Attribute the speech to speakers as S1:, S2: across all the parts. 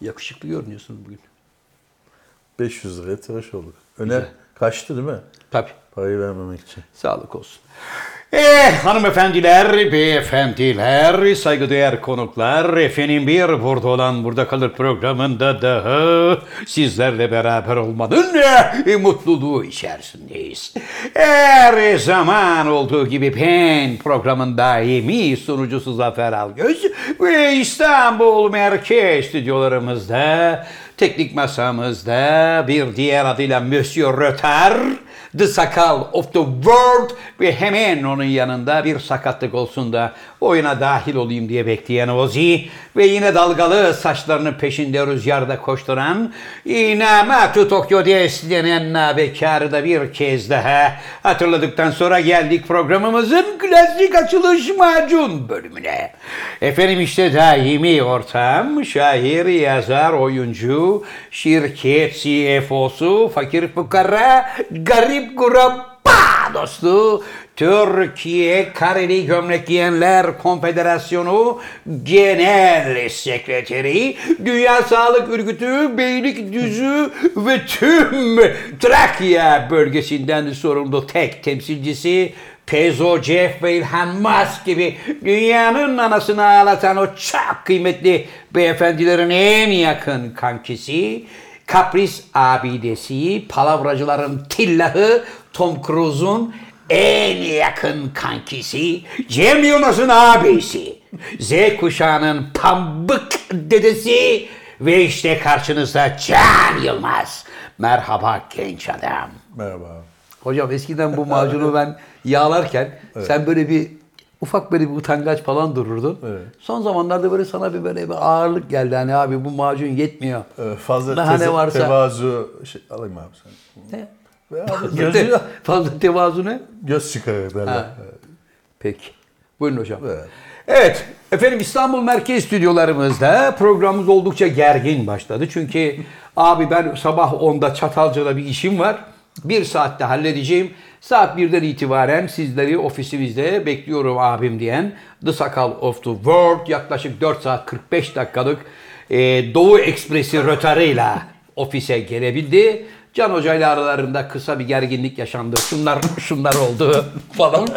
S1: mutlu görünüyorsun bugün.
S2: 500 liraya tıraş olduk. Öner kaçtı değil mi?
S1: Tabii.
S2: Parayı vermemek için.
S1: Sağlık olsun. Eh hanımefendiler, beyefendiler, saygıdeğer konuklar, efendim bir burada olan burada kalır programında daha sizlerle beraber olmanın eh, mutluluğu içerisindeyiz. Her zaman olduğu gibi PEN programın daimi sunucusu Zafer Algöz ve İstanbul Merkez stüdyolarımızda, teknik masamızda bir diğer adıyla Monsieur Röter The Sakal of the World ve hemen onun yanında bir sakatlık olsun da oyuna dahil olayım diye bekleyen Ozi ve yine dalgalı saçlarını peşinde rüzgarda koşturan Inamatu Tokyo DS denen nabekarı da bir kez daha hatırladıktan sonra geldik programımızın klasik açılış macun bölümüne. Efendim işte daimi ortam, şair, yazar, oyuncu, şirket CFO'su, fakir fukara, garip kurabba dostu, Türkiye Kareli Gömlek Giyenler Konfederasyonu Genel Sekreteri, Dünya Sağlık Örgütü, Beylikdüzü ve tüm Trakya bölgesinden sorumlu tek temsilcisi Pezo, Jeff ve İlhan Musk gibi dünyanın anasını ağlatan o çok kıymetli beyefendilerin en yakın kankisi, kapris abidesi, palavracıların tillahı Tom Cruise'un en yakın kankisi, Cem Yılmaz'ın abisi, Z kuşağının pambık dedesi ve işte karşınızda Can Yılmaz. Merhaba genç adam.
S2: Merhaba abi.
S1: Hocam eskiden bu macunu ben yağlarken sen böyle bir ufak böyle bir utangaç falan dururdun.
S2: Evet.
S1: Son zamanlarda böyle sana bir böyle bir ağırlık geldi. Hani abi bu macun yetmiyor.
S2: Ee, fazla
S1: Daha ne
S2: teze-
S1: varsa-
S2: tevazu şey, alayım abi sen.
S1: Ne?
S2: Ve abi
S1: Te-
S2: gözü,
S1: Fazla tevazu ne?
S2: göz çıkarır derler.
S1: Peki. Buyurun hocam.
S2: Evet.
S1: Evet. Efendim İstanbul Merkez Stüdyolarımızda programımız oldukça gergin başladı. Çünkü abi ben sabah 10'da Çatalca'da bir işim var. Bir saatte halledeceğim. Saat 1'den itibaren sizleri ofisimizde bekliyorum abim diyen The Sakal of the World yaklaşık 4 saat 45 dakikalık e, Doğu Ekspresi rötarıyla ofise gelebildi. Can Hoca ile aralarında kısa bir gerginlik yaşandı. Şunlar şunlar oldu falan.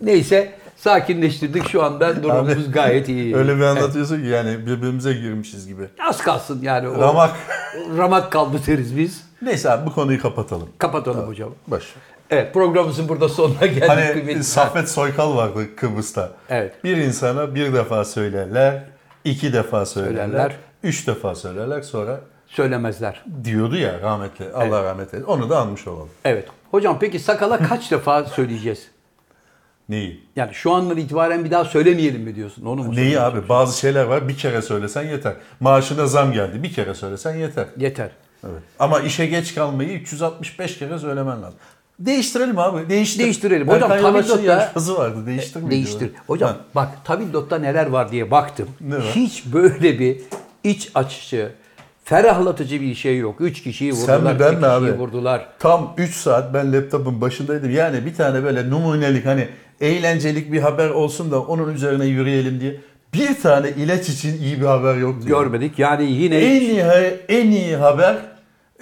S1: Neyse sakinleştirdik şu anda durumumuz
S2: Abi,
S1: gayet iyi.
S2: Öyle bir anlatıyorsun ki yani birbirimize girmişiz gibi.
S1: Az kalsın yani. O,
S2: Ramak.
S1: ramak kaldı deriz biz.
S2: Neyse abi bu konuyu kapatalım.
S1: Kapatalım hocam.
S2: Baş.
S1: Evet programımızın burada sonuna geldik.
S2: Hani
S1: kıymetli-
S2: Saffet Soykal vardı Kıbrıs'ta.
S1: Evet.
S2: Bir insana bir defa söylerler, iki defa söylerler,
S1: Söylerler.
S2: üç defa söylerler sonra
S1: Söylemezler.
S2: diyordu ya rahmetli. Allah rahmet eylesin. Onu da anmış olalım.
S1: Evet. Hocam peki sakala kaç defa söyleyeceğiz?
S2: Neyi?
S1: Yani şu andan itibaren bir daha söylemeyelim mi diyorsun? Onu mu?
S2: Neyi abi? Bazı şeyler var. Bir kere söylesen yeter. Maaşına zam geldi. Bir kere söylesen yeter.
S1: Yeter.
S2: Evet. Ama işe geç kalmayı 365 kere söylemen lazım. Değiştirelim abi. Değiştir.
S1: Değiştirelim. Hocam,
S2: Erkan
S1: tabii
S2: Yavaş'ın
S1: ki de-
S2: yarışması vardı. Değiştir miydi?
S1: Değiştir.
S2: o?
S1: Hocam
S2: Ha,
S1: bak Tabildot'ta neler var diye baktım.
S2: Ne var?
S1: Hiç böyle bir iç açıcı, ferahlatıcı bir şey yok. Üç kişiyi vurdular,
S2: Sen mi ben
S1: iki
S2: mi
S1: kişiyi
S2: abi?
S1: vurdular.
S2: Tam 3 saat ben laptopun başındaydım. Yani bir tane böyle numunelik hani eğlencelik bir haber olsun da onun üzerine yürüyelim diye. Bir tane ilaç için iyi bir haber yok. diyor.
S1: Görmedik. Yani yine
S2: En iyi, en iyi haber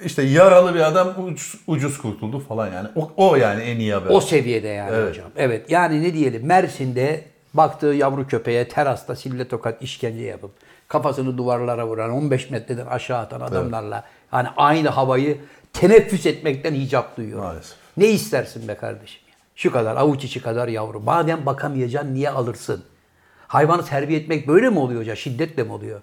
S2: işte yaralı bir adam ucuz, ucuz kurtuldu falan yani. O, o yani en iyi haber.
S1: o seviyede yani hocam. Evet. Yani ne diyelim Mersin'de baktığı yavru köpeğe terasta sille tokat işkence yapıp kafasını duvarlara vuran 15 metreden aşağı atan adamlarla hani aynı havayı teneffüs etmekten icap duyuyor.
S2: Maalesef.
S1: Ne istersin be kardeşim? ya? Şu kadar avuç içi kadar yavru. Madem bakamayacaksın niye alırsın? Hayvanı terbiye etmek böyle mi oluyor hocam? Şiddetle mi oluyor?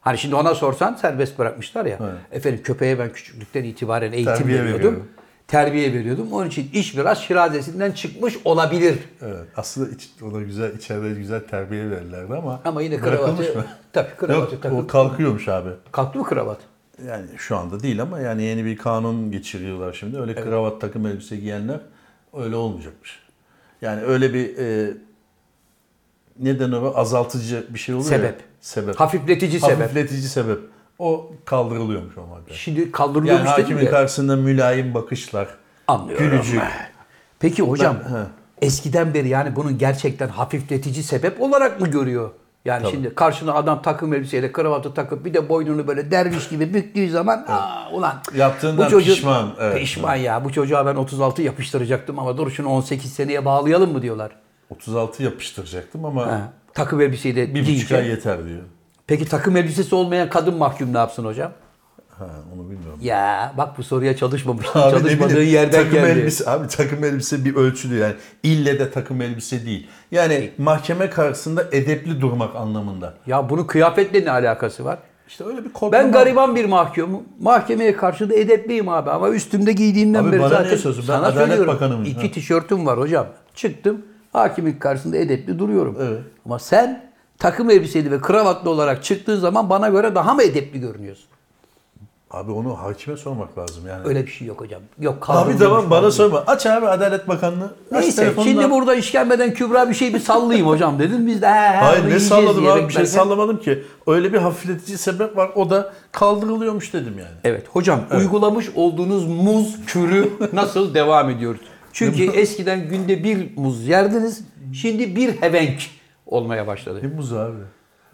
S1: Hani şimdi ona sorsan serbest bırakmışlar ya. Efendim köpeğe ben küçüklükten itibaren eğitim
S2: Terbiye
S1: veriyordum.
S2: veriyorum.
S1: Terbiye veriyordum. Onun için iş biraz şirazesinden çıkmış olabilir.
S2: Evet, aslında iç, ona güzel içeride güzel terbiye verirlerdi ama
S1: Ama yine
S2: bırakılmış
S1: kravatı...
S2: mı?
S1: Tabii kravatı
S2: Yok,
S1: takıp...
S2: o kalkıyormuş abi.
S1: Kalktı mı kravat?
S2: Yani şu anda değil ama yani yeni bir kanun geçiriyorlar şimdi. Öyle kravat takım elbise giyenler öyle olmayacakmış. Yani öyle bir e, neden o azaltıcı bir şey oluyor ya.
S1: Sebep.
S2: Sebep.
S1: Hafifletici sebep.
S2: Hafifletici sebep. O kaldırılıyormuş o madde.
S1: Şimdi kaldırılıyormuş
S2: Yani
S1: dedim
S2: hakimin
S1: de-
S2: karşısında mülayim bakışlar.
S1: Anlıyorum.
S2: Gülücük.
S1: Peki hocam
S2: Ben- he.
S1: eskiden beri yani bunun gerçekten hafifletici sebep olarak mı görüyor
S3: Yani şimdi karşına adam takım elbiseyle kravatı takıp bir de boynunu böyle derviş gibi büktüğü zaman aa ulan
S2: Yaptığından pişman, evet.
S3: pişman ya bu çocuğa ben 36 yapıştıracaktım ama dur şunu 18 seneye bağlayalım mı diyorlar.
S2: 36 yapıştıracaktım ama
S3: Ha, takım elbiseyi de
S2: bir buçuk
S3: giyince.
S2: ay yeter diyor.
S3: Peki takım elbisesi olmayan kadın mahkum ne yapsın hocam?
S2: Ha onu bilmiyorum.
S3: Ya bak bu soruya çalışmamıştım.
S2: Abi ne
S3: Çalışmadığın
S2: bileyim,
S3: yerden
S2: takım
S3: geldi.
S2: elbise abi takım elbise bir ölçüdür yani ille de takım elbise değil. Yani mahkeme karşısında edepli durmak anlamında.
S3: Ya bunun kıyafetle ne alakası var?
S2: İşte öyle bir kodlama.
S3: Ben gariban bir mahkumum. Mahkemeye karşı da edepliyim abi ama üstümde giydiğimden
S2: Abi
S3: beri
S2: bana
S3: zaten
S2: niye sözün? Ben
S3: sana
S2: Adalet
S3: söylüyorum.
S2: Bakanıyım.
S3: İki
S2: Ha.
S3: tişörtüm var hocam. Çıktım hakimin karşısında edepli duruyorum. Ama sen takım elbiseli ve kravatlı olarak çıktığın zaman bana göre daha mı edepli görünüyorsun?
S2: Abi onu hakime sormak lazım yani.
S3: Öyle bir şey yok hocam. Yok
S2: Abi
S3: kaldırılmış
S2: tamam bana
S3: kaldırılmış.
S2: sorma. Aç abi Adalet Bakanlığı. Aç
S3: Neyse
S2: telefonunu al.
S3: şimdi burada işkembeden Kübra bir şey bir sallayayım hocam dedin. Biz de he he
S2: Hayır
S3: bunu
S2: ne
S3: yiyeceğiz
S2: salladım
S3: diye
S2: abi bir şey
S3: beklerken-
S2: sallamadım ki. Öyle bir hafifletici sebep var o da kaldırılıyormuş dedim yani.
S3: Evet hocam uygulamış olduğunuz muz kürü nasıl devam ediyor? Çünkü eskiden günde bir muz yerdiniz. Şimdi bir hevenk olmaya başladı.
S2: E muz abi.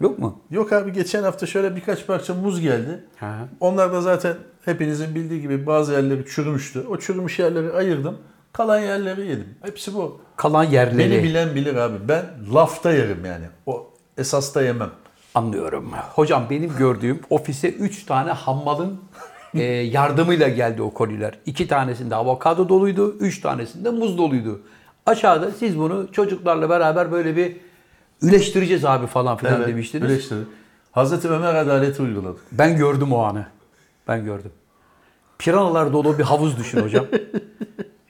S3: Yok mu?
S2: Yok abi geçen hafta şöyle birkaç parça muz geldi.
S3: Ha.
S2: Onlar da zaten hepinizin bildiği gibi bazı yerleri çürümüştü. O çürümüş yerleri ayırdım. Kalan yerleri yedim. Hepsi bu.
S3: Kalan yerleri
S2: Beni bilen bilir abi. Ben lafta yerim yani. O esasta yemem.
S3: anlıyorum. Hocam benim gördüğüm ofise 3 tane hammalın e, yardımıyla geldi o koliler. 2 tanesinde avokado doluydu, 3 tanesinde muz doluydu. Aşağıda siz bunu çocuklarla beraber böyle bir üleştireceğiz abi falan filan
S2: Evet,
S3: demiştiniz.
S2: Birleştirdim. Hazreti Ömer adaleti uyguladı.
S3: Ben gördüm o anı. Ben gördüm. Piranalar dolu bir havuz düşün hocam.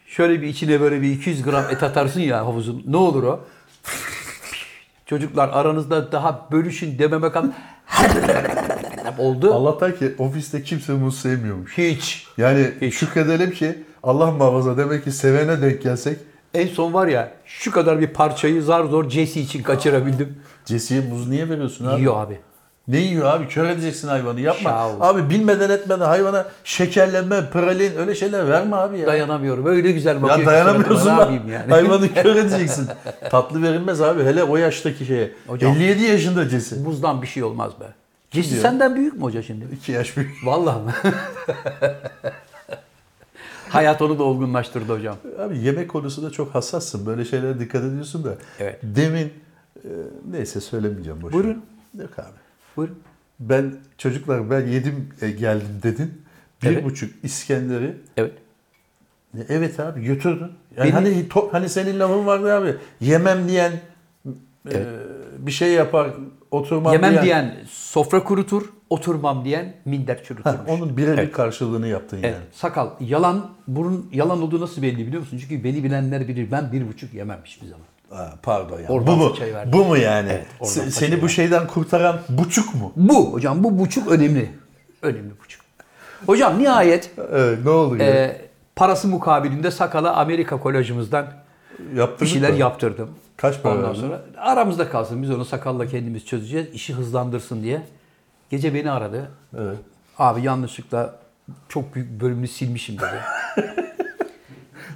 S3: Şöyle bir içine böyle bir 200 gram et atarsın ya havuzun. Ne olur o? Çocuklar aranızda daha bölüşün dememe kan oldu.
S2: Allah'tan ki ofiste kimse muz sevmiyormuş.
S3: Hiç.
S2: Yani şükredelim ki Allah muhafaza demek ki sevene denk gelsek
S3: En son var ya şu kadar bir parçayı zar zor Jesse için kaçırabildim.
S2: Cesiye muz niye veriyorsun abi?
S3: Yiyor abi.
S2: Ne yiyor abi? Kör edeceksin hayvanı. Yapma.
S3: Şav.
S2: Abi bilmeden etmeden hayvana şekerleme, pralin öyle şeyler verme abi ya.
S3: Dayanamıyorum. Öyle güzel bakıyor.
S2: ya
S3: ki
S2: dayanamıyorsun
S3: suratına. Ne
S2: lan.
S3: yapayım yani?
S2: Hayvanı kör edeceksin. Tatlı verilmez abi. Hele o yaştaki şeye.
S3: Hocam.
S2: 57 yaşında cesi.
S3: Buzdan bir şey olmaz be. Jesse
S2: Diyor.
S3: senden büyük mü hoca şimdi?
S2: 2 yaş büyük.
S3: Vallahi mi? Hayat onu da olgunlaştırdı hocam.
S2: Abi yemek konusunda çok hassassın. Böyle şeylere dikkat ediyorsun da.
S3: Evet.
S2: Demin e, neyse söylemeyeceğim boşuna.
S3: Buyurun.
S2: Yok abi.
S3: Buyurun.
S2: Ben çocuklar ben yedim e, geldim dedin. Bir
S3: Evet.
S2: buçuk İskender'i
S3: Evet.
S2: E, Evet abi götürdün.
S3: Benim-
S2: Yani hani to- hani senin lafın vardı abi. Yemem diyen e, bir şey yapar, oturmam
S3: Yemem
S2: diyen.
S3: diyen sofra kurutur, oturmam diyen minder çürütür.
S2: Ha, onun birebir karşılığını yaptın
S3: Evet,
S2: yani.
S3: sakal yalan, bunun yalan olduğu nasıl belli biliyor musun? Çünkü beni bilenler bilir. Ben bir buçuk yemem hiçbir zaman.
S2: Aa, pardon yani.
S3: Oradan
S2: bu mu?
S3: fırçayı verdim.
S2: Bu mu yani?
S3: oradan
S2: Se-
S3: fırçayı
S2: seni bu şeyden kurtaran buçuk mu?
S3: Bu hocam bu buçuk önemli. Önemli buçuk. Hocam nihayet
S2: Evet, ne oldu? ya?
S3: e, parası mukabilinde sakala Amerika kolajımızdan bir
S2: Yaptırdın
S3: şeyler
S2: mı?
S3: yaptırdım.
S2: Kaç para
S3: Ondan
S2: verdin?
S3: sonra aramızda kalsın. Biz onu sakalla kendimiz çözeceğiz. İşi hızlandırsın diye. Gece beni aradı.
S2: Evet.
S3: Abi yanlışlıkla çok büyük bölümünü silmişim dedi.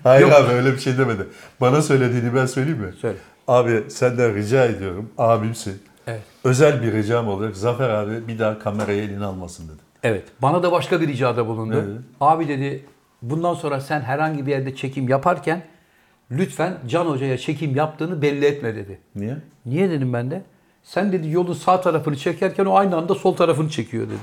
S2: Hayır
S3: Yok.
S2: abi öyle bir şey demedi. Bana söylediğini ben söyleyeyim mi?
S3: Söyle.
S2: Abi senden rica ediyorum. Abimsin.
S3: Evet.
S2: Özel bir ricam olacak. Zafer abi bir daha kameraya elini almasın dedi.
S3: evet. Bana da başka bir ricada bulundu. Abi dedi bundan sonra sen herhangi bir yerde çekim yaparken lütfen Can Hoca'ya çekim yaptığını belli etme dedi.
S2: Niye?
S3: Niye dedim ben de? Sen dedi yolun sağ tarafını çekerken o aynı anda sol tarafını çekiyor dedi.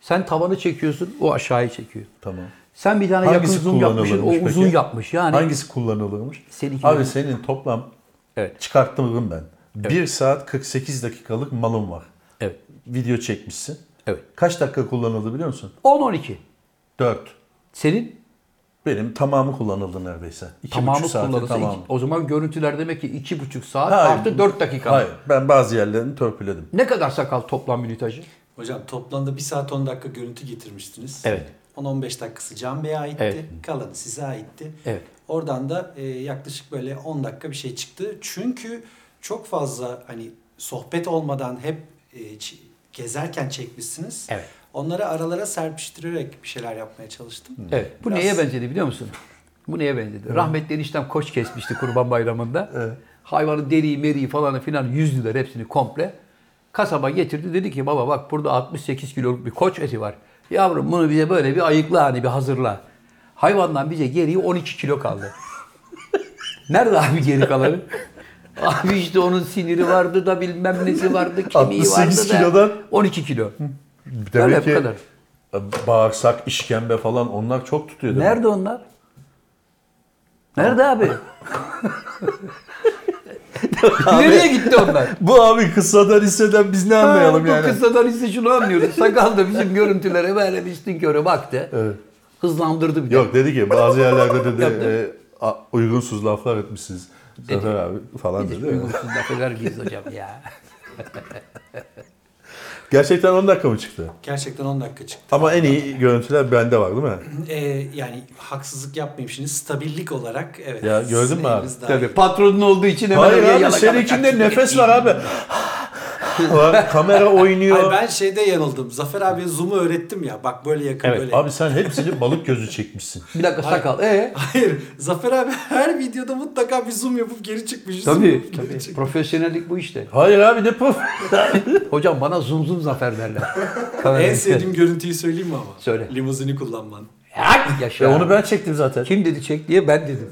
S3: Sen tavanı çekiyorsun, o aşağıyı çekiyor.
S2: Tamam.
S3: Sen bir tane yakın zoom yapmışsın, o
S2: kullanılırmış
S3: uzun
S2: peki?
S3: yapmış. Yani
S2: Hangisi kullanılırmış?
S3: Hani Seninki
S2: Abi
S3: mi?
S2: senin toplam
S3: Evet.
S2: çıkarttığım ben. 1 saat 48 dakikalık malım var.
S3: Evet.
S2: Video çekmişsin.
S3: Evet.
S2: Kaç dakika kullanıldı biliyor musun?
S3: 10 12.
S2: 4.
S3: Senin
S2: Benim tamamı kullanıldı neredeyse. 2,5
S3: tamamı
S2: saatin
S3: kullanılsa
S2: tamamı.
S3: iki- o zaman görüntüler demek ki iki buçuk saat
S2: Hayır.
S3: artı 4 dakika.
S2: Hayır ben bazı yerlerini törpüledim.
S3: Ne kadar sakal toplam minütajı?
S4: Hocam toplamda 1 saat 10 dakika görüntü getirmiştiniz.
S3: Evet.
S4: 10-15 dakikası Can Bey'e aitti.
S3: Evet.
S4: Kalanı size aitti.
S3: Evet.
S4: Oradan da e, yaklaşık böyle 10 dakika bir şey çıktı. Çünkü çok fazla hani sohbet olmadan hep e, ç- gezerken çekmişsiniz.
S3: Evet.
S4: Onları aralara serpiştirerek bir şeyler yapmaya çalıştım.
S3: Evet. Bu
S4: Biraz-
S3: neye benzedi biliyor musun? Bu neye benzedi? Rahmetli eniştem koç kesmişti kurban bayramında. Hayvanın deriyi, meriyi falan filan yüzdüler hepsini komple. Kasaba getirdi dedi ki baba bak burada 68 kiloluk bir koç eti var. Yavrum bunu bize böyle bir ayıkla hani bir hazırla. Hayvandan bize geriye 12 kilo kaldı. Nerede abi geri kalanı? Abi işte onun siniri vardı da bilmem nesi vardı, kemiği
S2: 68
S3: vardı da.
S2: kilodan
S3: 12 kilo.
S2: Demek
S3: Öyle bu
S2: ki
S3: kadar.
S2: bağırsak, işkembe falan onlar çok tutuyor. demek.
S3: Nerede onlar? Nerede abi? Nereye gitti onlar?
S2: Bu abi kısadan hisseden biz ne anlayalım
S3: Ha,
S2: yani?
S3: Bu kıssadan ise şunu anlıyoruz. Sakal da bizim görüntülere böyle bir üstünkörü baktı.
S2: Evet.
S3: Hızlandırdı bir de.
S2: Yok dedi ki bazı yerlerde dedi
S3: Yaptı.
S2: e, a- uygunsuz laflar etmişsiniz. Zafer abi falan
S3: Hiç
S2: dedi.
S3: uygunsuz da kadar giyiz hocam ya.
S2: Gerçekten 10 dakika mı çıktı?
S4: Gerçekten 10 dakika çıktı.
S2: Ama en iyi görüntüler bende var değil mi?
S4: Ee, yani haksızlık yapmayayım şimdi. Stabillik olarak evet.
S2: Ya gördün mü
S4: sizin
S2: abi?
S4: eliniz daha iyi.
S3: Tabii patronun olduğu için hemen
S2: Hayır
S3: oraya
S2: abi
S3: yalaka-
S2: seninkinde nefes var abi. Var, kamera oynuyor.
S4: Ay ben şeyde yanıldım. Zafer abi zoom'u öğrettim ya. Bak böyle yakın
S1: Evet,
S4: böyle.
S2: Abi sen hepsini balık gözü çekmişsin.
S3: Bir dakika sakal. Ee?
S4: Hayır. Zafer abi her videoda mutlaka bir zoom yapıp geri çıkmış. zoom
S3: Tabii.
S4: yapıp geri
S3: tabii.
S4: çıkmış.
S3: Profesyonellik bu işte.
S2: Hayır abi ne puf.
S3: Hocam bana zum zum zafer derler.
S4: En
S3: Kamerayı-
S2: şey
S4: sevdiğim görüntüyü söyleyeyim mi ama?
S3: Söyle.
S4: Limuzini kullanman.
S3: Hak yaşa.
S2: E onu ben çektim zaten.
S3: Kim dedi çek diye ben dedim.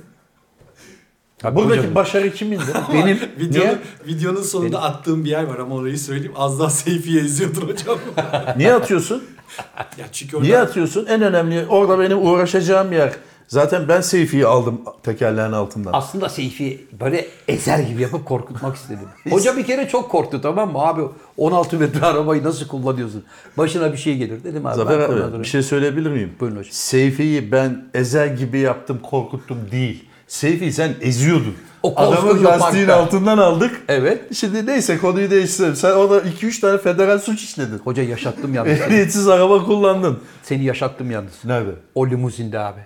S2: Buradaki
S3: hocam.
S2: başarı kimindi?
S3: Benim
S4: Videonun, videonun sonunda attığım bir yer var ama orayı söyleyeyim. Az daha Seyfi'ye izliyordun hocam.
S2: Niye atıyorsun?
S4: ya çünkü orada
S2: Niye atıyorsun? En önemli orada benim uğraşacağım yer. Zaten ben Seyfi'yi aldım tekerleğin altından.
S3: aslında Seyfi böyle ezer gibi yapıp korkutmak istedim. Hoca bir kere çok korktu tamam mı? Abi 16 metre arabayı nasıl kullanıyorsun? Başına bir şey gelir dedim abi.
S2: Zafer
S3: ben
S2: abi
S3: kullanırım.
S2: bir şey söyleyebilir miyim?
S3: Buyurun hocam.
S2: Seyfi'yi ben ezer gibi yaptım, korkuttum değil. Seyfi'yi sen eziyordun.
S3: O koskoca
S2: Adamın lastiğin
S3: parkta.
S2: altından aldık.
S3: Evet.
S2: Şimdi neyse konuyu değiştirelim. Sen orada 2-3 tane federal suç işledin.
S3: Hoca yaşattım yalnız. seni.
S2: Ehliyetsiz araba kullandın.
S3: Seni yaşattım yalnız.
S2: Nerede?
S3: O limuzinde abi.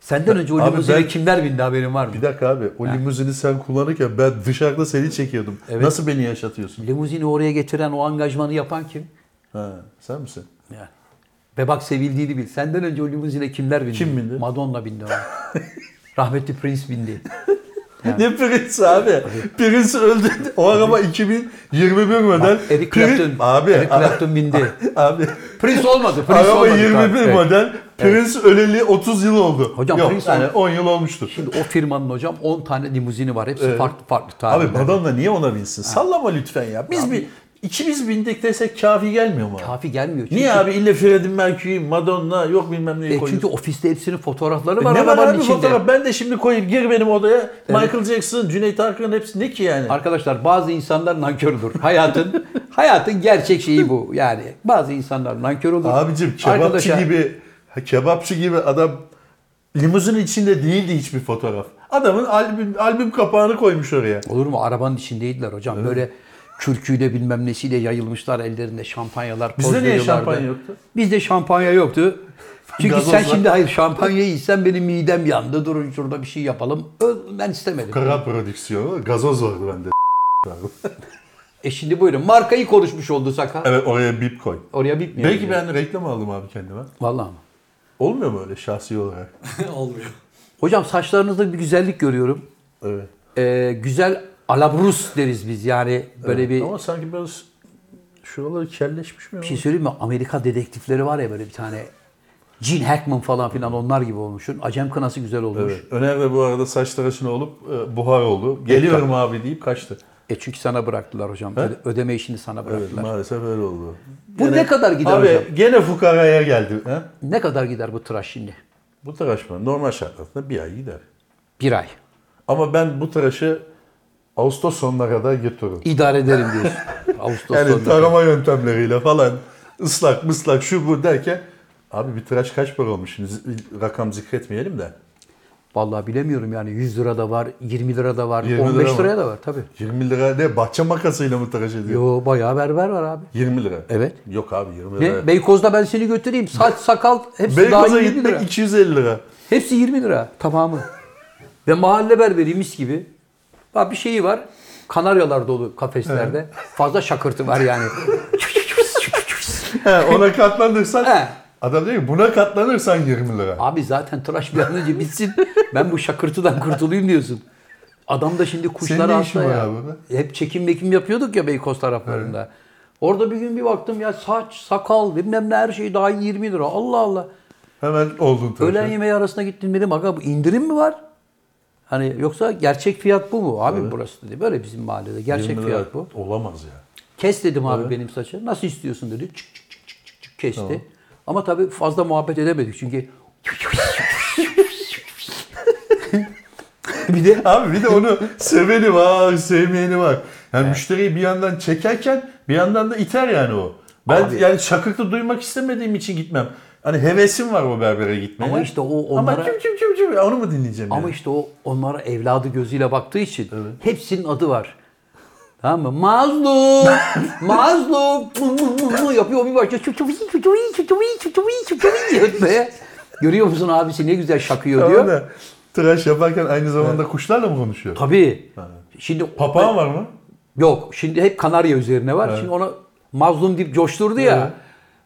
S3: Senden önce o
S2: Abi
S3: limuzine
S2: ben-
S3: kimler bindi haberin var mı?
S2: Bir dakika abi o limuzini sen kullanırken ben dışarıda seni çekiyordum. Nasıl beni yaşatıyorsun?
S3: Limuzini oraya getiren o angajmanı yapan kim?
S2: Ha, sen misin?
S3: Yani. Ve bak sevildiğini bil. Senden önce o limuzine kimler bindi?
S2: Kim bindi?
S3: Madonna bindi ona. Rahmetli Prince bindi.
S2: Ne prens abi? Prens öldü. O araba 2021 model.
S3: Eric
S2: Prens-
S3: Clapton.
S2: Abi. Ah.
S3: Eric Clapton bindi.
S2: Abi.
S3: Prince olmadı. Prince
S2: Araba
S3: olmadı.
S2: 21
S3: tabii. Evet.
S2: model. Prens öleli 30 yıl oldu.
S3: Hocam
S2: Yok,
S3: Prens
S2: yani
S3: ol-
S2: 10 yıl olmuştu.
S3: Şimdi o firmanın hocam 10 tane limuzini var. Hepsi farklı farklı
S2: Abi
S3: tarihlerde.
S2: Madonna niye ona binsin? Sallama lütfen ya. Biz bir ikimiz bindik desek kafi gelmiyor mu? abi?
S3: Kafi gelmiyor. Çünkü,
S2: Niye abi illa Freddie Mercury, Madonna yok bilmem neyi
S3: E,
S2: koyuyorsun?
S3: çünkü ofiste hepsinin fotoğrafları E var
S2: Ne var
S3: arabanın
S2: abi
S3: içinde.
S2: fotoğraf? Ben de şimdi koyayım. Gir benim odaya. Michael Jackson, Cüneyt Arkın hepsi ne ki yani?
S3: Arkadaşlar bazı insanlar nankördür. Hayatın hayatın gerçek şeyi bu. Yani bazı insanlar nankör olur.
S2: Abicim kebapçı
S3: Arkadaşa-
S2: gibi kebapçı gibi adam limuzin içinde değildi hiçbir fotoğraf. Adamın albüm albüm kapağını koymuş oraya.
S3: Olur mu? Arabanın içindeydiler hocam. Böyle kürküyle bilmem nesiyle yayılmışlar ellerinde şampanyalar. poz
S2: Bizde niye
S3: veriyorlardı.
S2: şampanya yoktu?
S3: Bizde şampanya yoktu. Çünkü
S2: Gazozla.
S3: sen şimdi hayır şampanyayı içsen benim midem yandı. Durun şurada bir şey yapalım. Ö- Ben istemedim.
S2: Kara prodüksiyonu gazoz vardı bende.
S3: E şimdi buyurun. Markayı konuşmuş oldu Saka.
S2: Evet oraya bip koy.
S3: Oraya bitmiyor.
S2: Belki ben reklam aldım abi kendime.
S3: Vallahi mı?
S2: Olmuyor mu öyle şahsi olarak?
S4: olmuyor.
S3: Hocam saçlarınızda bir güzellik görüyorum.
S2: Evet.
S3: Ee, güzel alabrus deriz biz yani böyle bir
S2: Ama sanki biraz şuraları kelleşmiş mi?
S3: Bir şey söyleyeyim mi? Amerika dedektifleri var ya böyle bir tane. Gene Hackman falan filan onlar gibi olmuşsun. Acem kınası güzel olmuş.
S2: Evet. Öner de bu arada saç tıraşını olup e, buhar oldu. Geliyorum abi deyip kaçtı.
S3: E çünkü sana bıraktılar hocam. Öde- Ödeme işini sana
S2: Evet,
S3: bıraktılar.
S2: maalesef öyle oldu.
S3: Bu ne kadar gider
S2: Abi
S3: hocam?
S2: gene fukaraya geldi. He?
S3: Ne kadar gider bu tıraş şimdi?
S2: Bu tıraş mı? Normal şartlarda bir ay gider.
S3: Bir ay.
S2: Ama ben bu tıraşı Ağustos sonuna kadar getiririm.
S3: İdare ederim diyorsun. Ağustos
S2: Yani
S3: sonunda.
S2: tarama yöntemleriyle falan ıslak mıslak şu bu derken abi bir tıraş kaç para olmuş? Şimdi z- rakam zikretmeyelim de.
S3: Vallahi bilemiyorum yani 100 lira da var, 20 lira da var,
S2: 20 lira
S3: 15
S2: mı?
S3: liraya da var tabii.
S2: 20 lira ne? Bahçe makasıyla mı tıraş ediyor?
S3: Yo bayağı berber var abi.
S2: 20 lira.
S3: Evet.
S2: Yok abi
S3: Ne?
S2: 20 lira.
S3: Beykoz'da ben seni götüreyim. Saç, sakal hepsi
S2: Beykoz'a
S3: dahil 20 lira.
S2: gitmek 250 lira.
S3: Hepsi 20 lira tamamı. Ve mahalle berberi mis gibi. Bak bir şeyi var. Kanaryalar dolu kafeslerde. Fazla şakırtı var yani.
S2: He, ona katlanırsan
S3: He.
S2: adam diyor ki buna katlanırsan 20 lira.
S3: Abi zaten tıraş bir an önce bitsin. Ben bu şakırtıdan kurtulayım diyorsun. Adam da şimdi kuşlar
S2: Senin ne
S3: hasta
S2: işin var
S3: ya.
S2: abi be?
S3: Hep çekim mekim yapıyorduk ya Beykoz taraflarında. Orada bir gün bir baktım ya saç, sakal bilmem ne her şey dahil 20 lira. Allah Allah.
S2: Hemen oldun tabii.
S3: Öğlen yemeği arasına gittim dedim aga bu indirim mi var? Hani yoksa gerçek fiyat bu mu? Abi burası dedi. Böyle bizim mahallede gerçek
S2: 20 lira
S3: fiyat bu.
S2: Olamaz ya.
S3: Kes dedim abi benim saçı. Nasıl istiyorsun dedi. Çık çık çık çık çık, çık kesti. Ama tabii fazla muhabbet edemedik çünkü bir de
S2: Abi bir de onu seveni var, sevmeyeni var. Yani müşteriyi bir yandan çekerken bir yandan da iter yani o. Ben yani şakıklı duymak istemediğim için gitmem. Hani hevesim var o berbere gitmeye.
S3: Ama işte o
S2: Ama
S3: onlara-
S2: kim kim kim kim onu mu dinleyeceğim
S3: ama
S2: yani?
S3: işte o onlara evladı gözüyle baktığı için hepsinin adı var. Tamam mı? Mazlum, mazlum Mum, mum, mum, mum yapıyor bir başlıyor. Çu çu çu çu çu çu çu çu çu ötmeye. Görüyor musun abisi ne güzel şakıyor
S2: Ama
S3: diyor.
S2: da tıraş yaparken aynı zamanda kuşlarla mı konuşuyor?
S3: Tabii. Şimdi
S2: Papağan var mı?
S3: Yok. Şimdi hep Kanarya üzerine var. Şimdi ona mazlum deyip coşturdu ya.
S2: Evet.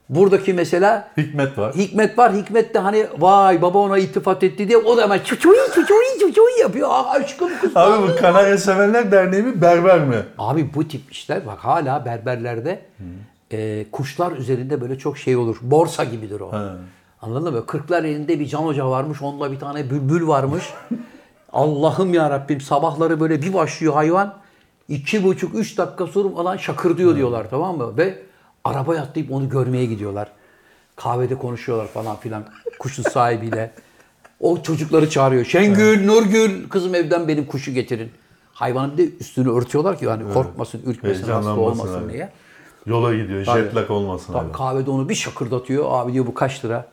S3: Buradaki mesela
S2: Hikmet var.
S3: Hikmet var. Hikmet de hani vay baba ona iltifat etti diye o da hemen çuçuy çuçuy çuçuy yapıyor. Aa, aşkım kız.
S2: Abi bu Kanarya Sevenler Derneği mi berber mi?
S3: Abi bu tip işler bak hala berberlerde e, kuşlar üzerinde böyle çok şey olur. Borsa gibidir o. Anladın mı? Kırklar elinde bir can hoca varmış. Onunla bir tane bülbül varmış. Allah'ım ya Rabbim sabahları böyle bir başlıyor hayvan. iki buçuk, üç dakika sonra falan şakır diyor diyorlar tamam mı? Ve arabaya atlayıp onu görmeye gidiyorlar. Kahvede konuşuyorlar falan filan kuşun sahibiyle. O çocukları çağırıyor. Şengül, Nurgül kızım evden benim kuşu getirin. Hayvanın bir de üstünü örtüyorlar ki hani korkmasın, ürkmesin, hasta
S2: Heyecanlanmasın
S3: olmasın
S2: abi.
S3: diye.
S2: Yola gidiyor.
S3: Tabii.
S2: Jet lag olmasın
S3: Tabii
S2: abi.
S3: kahvede onu bir şakırdatıyor. Abi diyor bu kaç lira?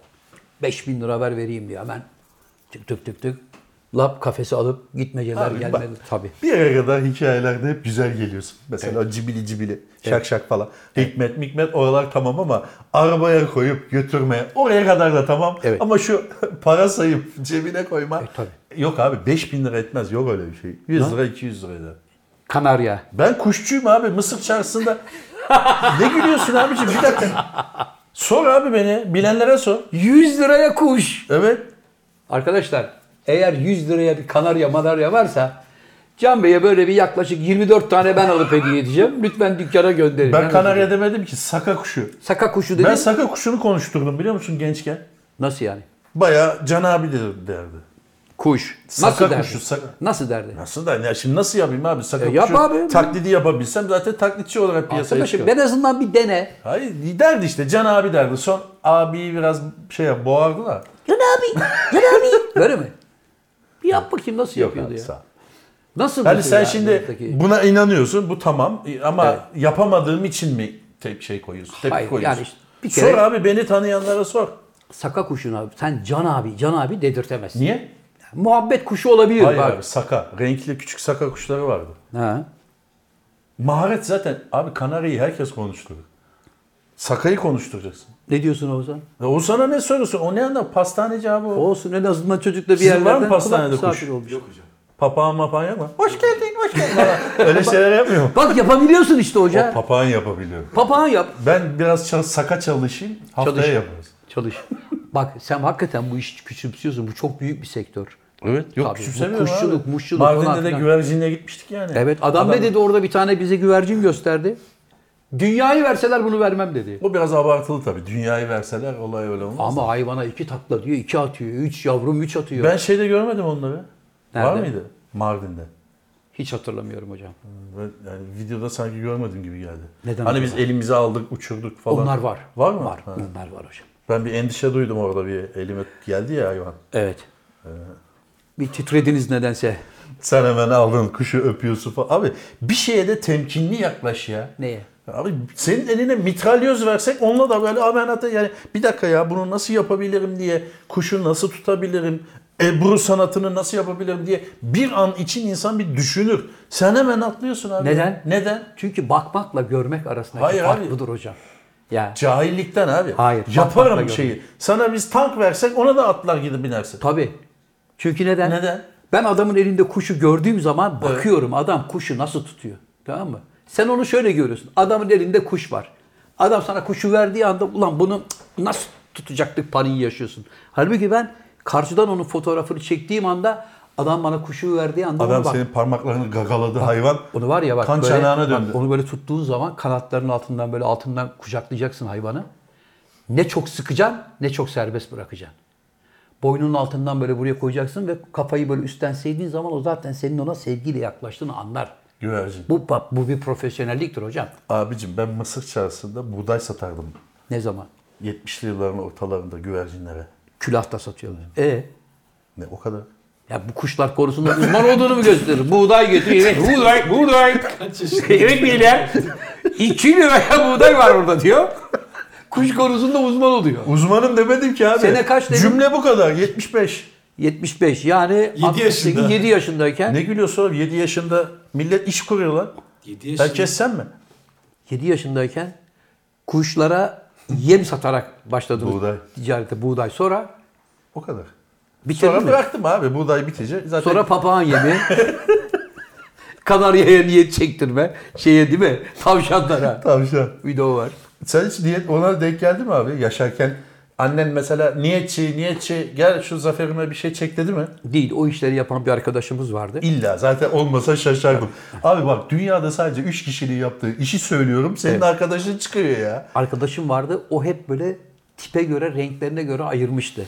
S3: 5000 lira ver vereyim diyor hemen. Tık tık tık tık. Lap kafesi alıp gitmeceler
S2: Abi
S3: gelmedi. Tabii.
S2: Bir yere kadar hikayelerde hep güzel geliyorsun. Mesela cibili cibili, şak şak falan. Hikmet mikmet oralar tamam ama arabaya koyup götürmeye oraya kadar da tamam.
S3: Evet. E,
S2: Ama şu para sayıp cebine koyma.
S3: tabii.
S2: Yok abi 5000 lira etmez. Yok öyle bir şey. 100 lira 200 lira eder.
S3: Kanarya.
S2: Ben kuşçuyum abi Mısır çarşısında. ne gülüyorsun abiciğim bir dakika. Sor abi beni. Bilenlere sor.
S3: 100 liraya kuş.
S2: Evet.
S3: Arkadaşlar eğer 100 liraya bir kanarya manarya varsa Can Bey'e böyle bir yaklaşık 24 tane ben alıp hediye edeceğim. Lütfen dükkana gönderin.
S2: Ben kanarya demedim ki saka kuşu.
S3: Saka kuşu dedi.
S2: Ben saka kuşunu konuşturdum biliyor musun gençken?
S3: Nasıl yani?
S2: Bayağı Can abi de- derdi.
S3: Kuş.
S2: Saka
S3: Nasıl derdi?
S2: kuşu, saka-
S3: Nasıl derdi?
S2: Nasıl da ya şimdi nasıl yapayım abi saka
S3: E, yap
S2: kuşu
S3: abi.
S2: taklidi yapabilsem zaten taklitçi olarak piyasaya
S3: Arkadaşım
S2: çıkar.
S3: ben azından bir dene.
S2: Hayır derdi işte Can abi derdi. Son abiyi biraz şey yap, boğardı da.
S3: Can abi, Can abi. Böyle mi? Bir yap bakayım nasıl yapıyordu
S2: abi,
S3: ya.
S2: sağ ol.
S3: Nasıl
S2: Yani
S3: mesela
S2: sen
S3: ya
S2: şimdi
S3: buradaki-
S2: buna inanıyorsun bu tamam E, ama
S3: Evet.
S2: yapamadığım için mi tek şey koyuyorsun? Tepki
S3: Hayır,
S2: koyuyorsun.
S3: yani işte bir
S2: Sor
S3: kere-
S2: abi beni tanıyanlara sor.
S3: saka kuşuna sen Can abi, Can abi dedirtemezsin.
S2: Niye?
S3: Muhabbet kuşu olabilir
S2: Hayır
S3: bak.
S2: abi saka. Renkli küçük saka kuşları vardı.
S3: Ha.
S2: Maharet zaten abi kanaryayı herkes konuşturur. Sakayı konuşturacaksın.
S3: Ne diyorsun Oğuzhan?
S2: Ya o sana ne soruyorsun? O ne anlar? Pastaneci abi o.
S3: Olsun en azından çocukla bir
S2: Sizin var mı
S3: yerlerden kulak
S2: pastanede
S3: misafir
S2: kuş?
S3: olmuş.
S2: Papağan mapağan yapma. Hoş geldin, hoş geldin. Öyle şeyler yapmıyor mu?
S3: Bak yapabiliyorsun işte hoca.
S2: O papağan yapabiliyor.
S3: Papağan yap.
S2: Ben biraz çal- saka çalışayım, haftaya
S3: Çalış.
S2: yaparız.
S3: Çalış. Bak sen hakikaten bu işi küçümsüyorsun. Bu çok büyük bir sektör.
S2: Evet, yok
S3: Tabii,
S2: küçümsemiyorum
S3: bu kuşçuluk,
S2: abi.
S3: muşçuluk falan
S2: Mardin'de de
S3: filan.
S2: güvercinle gitmiştik yani.
S3: Evet adam, ne dedi orada bir tane bize güvercin gösterdi. Dünyayı verseler bunu vermem dedi.
S2: Bu biraz abartılı tabii. Dünyayı verseler olay öyle olmaz.
S3: Ama hayvana iki takla diyor, iki atıyor, üç yavrum üç atıyor.
S2: Ben şeyde görmedim onları. Var
S3: Nerede?
S2: mıydı? Mardin'de.
S3: Hiç hatırlamıyorum hocam.
S2: Ben yani videoda sanki görmedim gibi geldi.
S3: Neden
S2: hani biz
S3: acaba?
S2: elimize aldık, uçurduk falan.
S3: Onlar var.
S2: Var mı?
S3: Var.
S2: Ha.
S3: Bunlar var hocam.
S2: Ben bir endişe duydum orada bir elime geldi ya hayvan.
S3: Evet. Bir titrediniz nedense.
S2: Sen hemen aldın kuşu öpüyorsun falan. Abi bir şeye de temkinli yaklaş ya.
S3: Neye?
S2: Abi senin eline mitralyoz versek onunla da böyle amenata yani bir dakika ya bunu nasıl yapabilirim diye kuşu nasıl tutabilirim Ebru sanatını nasıl yapabilirim diye bir an için insan bir düşünür. Sen hemen atlıyorsun abi.
S3: Neden?
S2: Neden?
S3: Çünkü bakmakla görmek arasındaki
S2: Hayır,
S3: fark
S2: hayır.
S3: budur hocam. Ya
S2: Cahillikten abi.
S3: Hayır, bakmakla
S2: Yaparım
S3: gördüm.
S2: şeyi. Sana biz tank versek ona da atlar gidip binersin.
S3: tabii. Çünkü neden?
S2: Neden?
S3: Ben adamın elinde kuşu gördüğüm zaman bakıyorum adam kuşu nasıl tutuyor. Tamam mı? Sen onu şöyle görüyorsun. Adamın elinde kuş var. Adam sana kuşu verdiği anda ulan bunu nasıl tutacaktık paniği yaşıyorsun. Halbuki ben karşıdan onun fotoğrafını çektiğim anda Adam bana kuşu verdiği anda
S2: Adam
S3: ona bak.
S2: senin parmaklarını gagaladı hayvan.
S3: Onu var ya bak
S2: Kan
S3: böyle,
S2: çanağına döndü.
S3: bak onu böyle tuttuğun zaman kanatların altından böyle altından kucaklayacaksın hayvanı. Ne çok sıkacaksın ne çok serbest bırakacaksın. Boynunun altından böyle buraya koyacaksın ve kafayı böyle üstten sevdiğin zaman o zaten senin ona sevgiyle yaklaştığını anlar.
S2: Güvercin.
S3: Bu bak bu bir profesyonelliktir hocam.
S2: Abicim ben Mısır çarşısında buğday satardım.
S3: Ne zaman?
S2: 70'li yılların ortalarında güvercinlere.
S3: Külahta satıyorlar. E
S2: Ne o kadar.
S3: ya bu kuşlar konusunda uzman olduğunu mu gösterir? Buğday getiriyor. Evet, buğday, buğday.
S4: Kaç yaşında?
S3: Evet beyler. 2 liraya buğday var orada diyor. Kuş konusunda uzman oluyor.
S2: Uzmanım demedim ki abi.
S3: Sene kaç dedin?
S2: Cümle bu kadar. 75.
S3: 75 yani 68,
S4: yaşında.
S3: 7 yaşındayken
S2: Ne gülüyorsun oğlum? 7 yaşında millet iş kuruyor lan.
S4: 7 yaşında.
S2: Herkes sen mi?
S3: 7 yaşındayken kuşlara yem satarak başladınız
S2: Buğday.
S3: ticarete buğday sonra
S2: O kadar.
S3: bitirdin
S2: Sonra
S3: mi?
S2: bıraktım abi. Buğday bitecek. Zaten
S3: Sonra papağan yemi. Kanarya'ya niyet çektirme. Şeye değil mi? Tavşanlara.
S2: tavşan.
S3: Video var.
S2: Sen hiç niyet ona denk geldi mi abi yaşarken? Annen mesela niyetçi, niyetçi gel şu zaferime bir şey çek dedi mi?
S3: Değil. O işleri yapan bir arkadaşımız vardı.
S2: İlla zaten olmasa şaşardım. abi bak dünyada sadece 3 kişiliği yaptığı işi söylüyorum. Senin
S3: Evet.
S2: arkadaşın çıkıyor ya.
S3: arkadaşım vardı. O hep böyle tipe göre, renklerine göre ayırmıştı.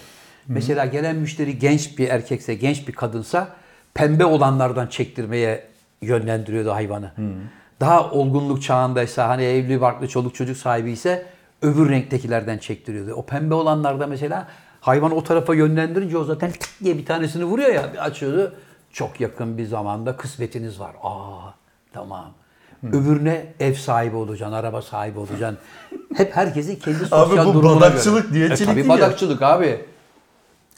S3: Mesela gelen müşteri genç bir erkekse, genç bir kadınsa pembe olanlardan çektirmeye yönlendiriyordu hayvanı. Daha olgunluk çağındaysa, hani evli, barklı, çoluk çocuk sahibi ise öbür renktekilerden çektiriyordu. O pembe olanlarda mesela hayvan o tarafa yönlendirince o zaten tık diye bir tanesini vuruyor ya, bir açıyordu. Çok yakın bir zamanda kısmetiniz var. Aa, tamam.
S2: Hmm.
S3: Öbürüne ev sahibi olacaksın, araba sahibi olacaksın. Hep herkesin kendi sosyal durumuna
S2: bu
S3: göre. E,
S2: badakçılık, niyetçilik
S3: tabii
S2: değil ya.
S3: badakçılık abi.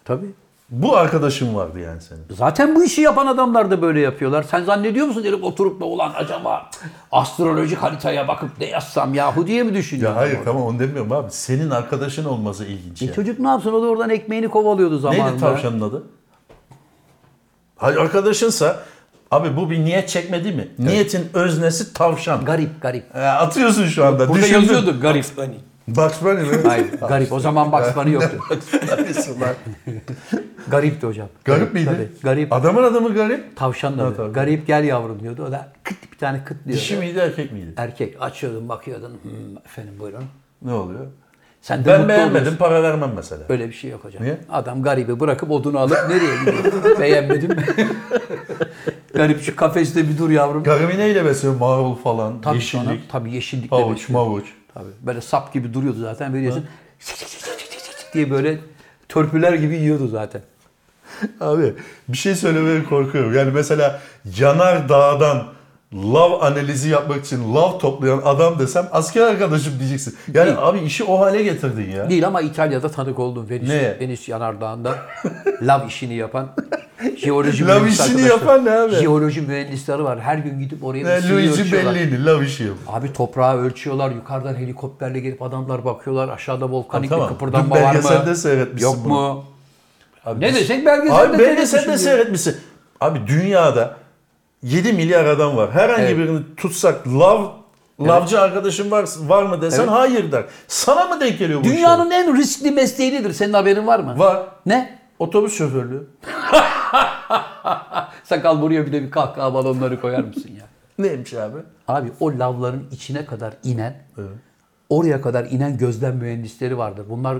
S3: Tabii.
S2: Bu arkadaşın vardı yani senin.
S3: Zaten bu işi yapan adamlar da böyle yapıyorlar. Sen zannediyor musun herif oturup da ulan acaba astrolojik haritaya bakıp ne yazsam yahu diye mi düşünüyor?
S2: Ya hayır tamam onu demiyorum abi. Senin arkadaşın olması ilginç.
S3: E
S2: ya.
S3: çocuk ne yapsın? O da oradan ekmeğini kovalıyordu zamanında.
S2: Neydi tavşanın adı? Hayır arkadaşınsa abi bu bir niyet çekme değil mi? Niyetin öznesi tavşan.
S3: Garip garip.
S2: E, atıyorsun şu anda.
S3: Burada
S2: Düşündün.
S3: yazıyordu garip. hani.
S4: Bunny.
S2: Bugs Bunny mi?
S3: Hayır garip. O zaman Bugs Bunny yoktu.
S2: Neresi lan?
S3: Garipti hocam.
S2: garip miydi?
S3: Tabii, garip.
S2: Adamın adamı garip.
S3: Tavşan da. diyor. Garip gel yavrum diyordu. O da kıt bir tane kıt diyordu.
S2: Dişi miydi erkek miydi?
S3: Erkek açıyordun bakıyordun. Hmm, efendim buyurun.
S2: Ne oluyor?
S3: Sen de
S2: Ben
S3: mutlu
S2: beğenmedim
S3: oluyorsun.
S2: para vermem mesela.
S3: Böyle bir şey yok hocam.
S2: Niye?
S3: Adam garibi bırakıp odunu alıp nereye gidiyor? Beğenmedim. Garip şu kafeste bir dur yavrum.
S2: Garimi neyle besliyor? Marul falan,
S3: Tabii sonra-
S2: yeşillik,
S3: tabii yeşillikle
S2: havuç,
S3: besliyor.
S2: mavuç.
S3: Tabii. Böyle sap gibi duruyordu zaten veriyorsun. diye böyle törpüler gibi yiyordu zaten.
S2: Abi bir şey söylemeye korkuyorum. Yani mesela Yanar Dağ'dan lav analizi yapmak için lav toplayan adam desem asker arkadaşım diyeceksin. Yani
S3: Değil.
S2: abi işi o hale getirdin ya.
S3: Değil ama İtalya'da tanık oldum. Venüs,
S2: Ne?
S3: Venüs yanardağında lav işini yapan jeoloji
S2: Lav
S3: mühendisi
S2: işini
S3: arkadaşlar.
S2: yapan ne abi?
S3: Jeoloji mühendisleri var. Her gün gidip oraya bir
S2: Yani
S3: sıyı
S2: Luigi
S3: ölçüyorlar.
S2: Bellini lav işi yapıyor.
S3: Abi toprağı ölçüyorlar. Yukarıdan helikopterle gelip adamlar bakıyorlar. Aşağıda volkanik
S2: Tamam,
S3: bir
S2: tamam.
S3: Hani kıpırdanma
S2: Dün
S3: var mı?
S2: belgeselde seyretmişsin
S3: Yok
S2: bunu.
S3: mu?
S2: Abi
S3: Ne
S2: biz-
S3: desek belgeselde
S2: Abi belgesel de
S3: seyretmişim
S2: seyretmişsin. Abi dünyada 7 milyar adam var. Herhangi
S3: Evet.
S2: birini tutsak lav lavcı arkadaşın var var mı desen
S3: Evet.
S2: hayır der. Sana mı denk geliyor bu işler?
S3: Dünyanın en riskli mesleği nedir? Senin haberin var mı?
S2: var
S3: Ne?
S2: otobüs şoförlüğü.
S3: Sakal buraya bir de bir kahkaha balonları koyar mısın ya?
S2: Neymiş abi?
S3: Abi o lavların içine kadar inen, oraya kadar inen gözlem mühendisleri vardır. Bunlar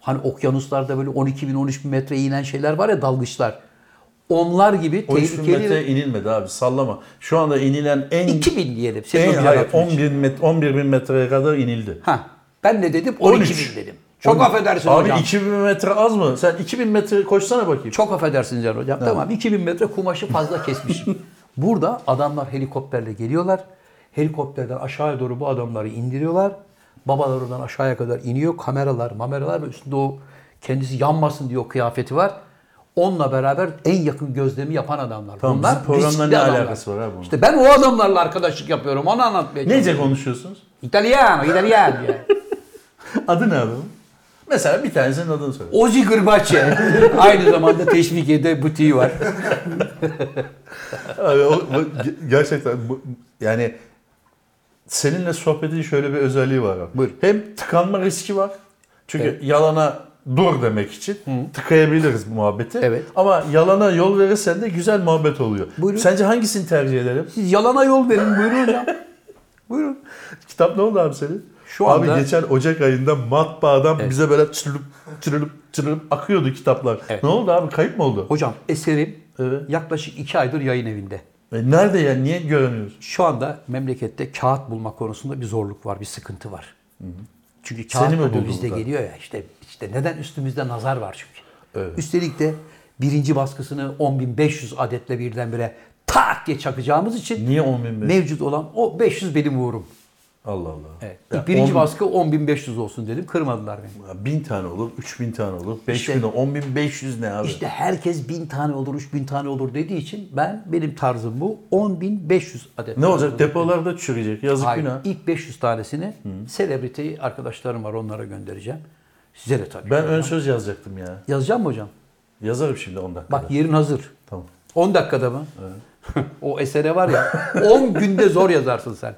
S3: hani okyanuslarda böyle 12 bin 13 bin metre inen şeyler var ya dalgıçlar. Onlar gibi
S2: 13 bin
S3: tehlikeli.
S2: metre inilmedi abi sallama. Şu anda inilen en
S3: 2000 diyelim.
S2: en
S3: Sezon
S2: hayır,
S3: yaratmış.
S2: 11 bin metre 11 bin metreye kadar inildi.
S3: Ha. Ben ne dedim? 12
S2: 13.
S3: bin dedim. Çok affedersin
S2: abi
S3: hocam.
S2: 2000 metre az mı? Sen 2000 metre koşsana bakayım.
S3: Çok affedersiniz Can Hocam. Tamam 2000 metre kumaşı fazla kesmişim. Burada adamlar helikopterle geliyorlar. Helikopterden aşağıya doğru bu adamları indiriyorlar. Babalar oradan aşağıya kadar iniyor. Kameralar, mameralar ve üstünde o kendisi yanmasın diye o kıyafeti var. Onunla beraber en yakın gözlemi yapan adamlar.
S2: Tamam,
S3: Bunlar
S2: bizim programla
S3: riskli
S2: ne
S3: adamlar.
S2: alakası var abi bunun?
S3: İşte ben o adamlarla arkadaşlık yapıyorum. Onu anlatmaya
S2: Nece konuşuyorsunuz?
S3: İtalyan, İtalyan diye.
S2: Adı ne abi? Mesela bir tanesinin adını söyle.
S3: Ozi Gırbaçe. Aynı zamanda teşvikiyede butiği var.
S2: Abi o- bu- ge- gerçekten bu- yani seninle sohbetin şöyle bir özelliği var. abi.
S3: Buyur.
S2: Hem tıkanma riski var. Çünkü yalana dur demek için tıkayabiliriz bu muhabbeti.
S3: Evet.
S2: Ama yalana yol verirsen de güzel muhabbet oluyor.
S3: Buyurun.
S2: Sence hangisini tercih edelim?
S3: Siz yalana yol verin buyurun hocam. buyurun.
S2: Kitap ne oldu abi senin?
S3: Şu
S2: abi
S3: anda-
S2: geçen Ocak ayında matbaadan bize böyle çırılıp çırılıp çırılıp akıyordu kitaplar.
S3: Evet.
S2: Ne oldu abi? Kayıp mı oldu?
S3: Hocam eserim
S2: Evet.
S3: yaklaşık iki aydır yayın evinde.
S2: E, nerede ya? Niye göremiyoruz?
S3: Şu anda memlekette kağıt bulma konusunda bir zorluk var, bir sıkıntı var. Çünkü
S2: Seni
S3: kağıt
S2: mi buldu
S3: dövizde
S2: bu da?
S3: geliyor ya işte işte neden üstümüzde nazar var çünkü.
S2: Evet.
S3: Üstelik de birinci baskısını 10.500 adetle birdenbire tak diye çakacağımız için
S2: Niye 10.500?
S3: mevcut olan o 500 benim uğurum.
S2: Allah Allah.
S3: Evet.
S2: Ya
S3: İlk birinci
S2: on-
S3: baskı 10.500 olsun dedim kırmadılar beni.
S2: Ya Bin tane olur, üç bin tane olur, beş
S3: İşte-
S2: bin olur, on bin beş yüz ne abi?
S3: İşte herkes bin tane olur, üç bin tane olur dediği için ben benim tarzım bu. 10.500 adet.
S2: ne olacak? Depolarda çürüyecek. Yazık
S3: Hayır,
S2: günah.
S3: ilk 500 tanesini selebriteyi arkadaşlarım var onlara göndereceğim. Size de tabii.
S2: Ben ön söz yazacaktım ya.
S3: Yazacağım mı hocam?
S2: Yazarım şimdi 10 dakikada.
S3: Bak yerin hazır.
S2: Tamam.
S3: 10 dakikada mı? o esere var ya 10 günde zor yazarsın sen.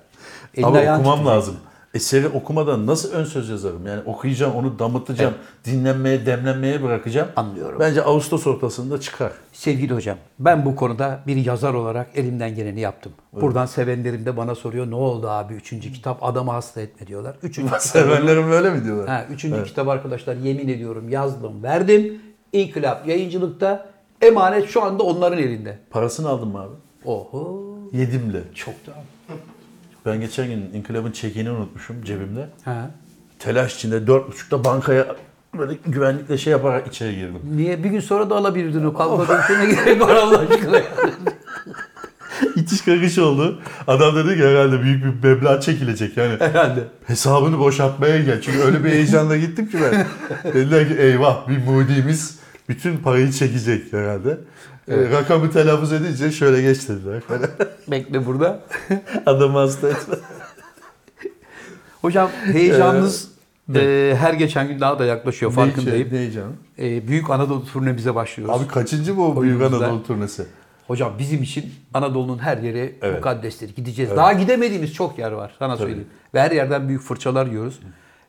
S3: Elini
S2: Ama
S3: ayağını
S2: okumam
S3: tutacak.
S2: lazım. Eseri okumadan nasıl ön söz yazarım? Yani okuyacağım, onu damıtacağım, dinlenmeye, demlenmeye bırakacağım.
S3: Anlıyorum.
S2: Bence Ağustos ortasında çıkar.
S3: Sevgili hocam ben bu konuda bir yazar olarak elimden geleni yaptım. Buradan sevenlerim de bana soruyor ne oldu abi üçüncü kitap adamı hasta etme diyorlar. Üçüncü
S2: Sevenlerim böyle mi diyorlar?
S3: Ha, üçüncü kitap arkadaşlar yemin ediyorum yazdım verdim. İnkılap yayıncılıkta emanet şu anda onların elinde.
S2: Parasını aldın mı abi?
S3: Oho
S2: Yedimle.
S3: çok da.
S2: Ben geçen gün İnkılap'ın çekini unutmuşum cebimde.
S3: Ha.
S2: Telaş içinde dört buçukta bankaya böyle güvenlikle şey yaparak içeri girdim.
S3: Niye? Bir gün sonra da alabilirdin o kavga dövüşüne gerek var Allah aşkına.
S2: İtiş kakış oldu. Adam dedi ki herhalde büyük bir meblağ çekilecek yani.
S3: Herhalde.
S2: Hesabını boşaltmaya gel. Çünkü öyle bir heyecanla gittim ki ben. Dediler ki eyvah bir mudimiz bütün parayı çekecek herhalde. Ee, rakamı telaffuz edince şöyle geç dediler. Böyle
S3: Bekle burada.
S2: Adamı hasta etme.
S3: Hocam heyecanınız e, her geçen gün daha da yaklaşıyor farkındayım.
S2: Ne heyecan?
S3: E, Büyük Anadolu turnemize başlıyoruz.
S2: Abi kaçıncı bu Büyük
S3: Oyunumuzda.
S2: Anadolu turnesi?
S3: Hocam bizim için Anadolu'nun her yeri
S2: Evet.
S3: mukaddestir. Gideceğiz. Daha gidemediğimiz çok yer var sana söyleyeyim. Ve her yerden büyük fırçalar yiyoruz.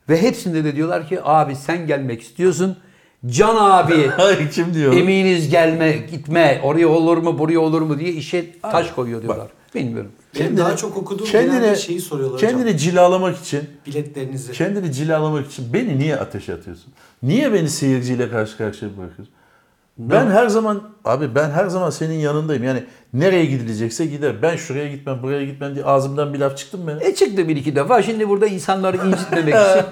S3: Ve hepsinde de diyorlar ki abi sen gelmek istiyorsun. Can abi
S2: Ay kim diyor?
S3: eminiz gelme gitme oraya olur mu buraya olur mu diye işe taş koyuyor diyorlar. Bilmiyorum.
S4: Benim daha çok okuduğum genelde şeyi soruyorlar
S2: kendini
S4: hocam.
S2: cilalamak için
S4: Biletlerinizi.
S2: Kendini cilalamak için beni niye ateşe atıyorsun? Niye beni seyirciyle karşı karşıya bırakıyorsun? Ben her zaman abi ben her zaman senin yanındayım. Yani nereye gidilecekse gider. Ben şuraya gitmem, buraya gitmem diye ağzımdan bir laf çıktı mı benim?
S3: E çıktı bir iki defa. Şimdi burada insanları incitmemek için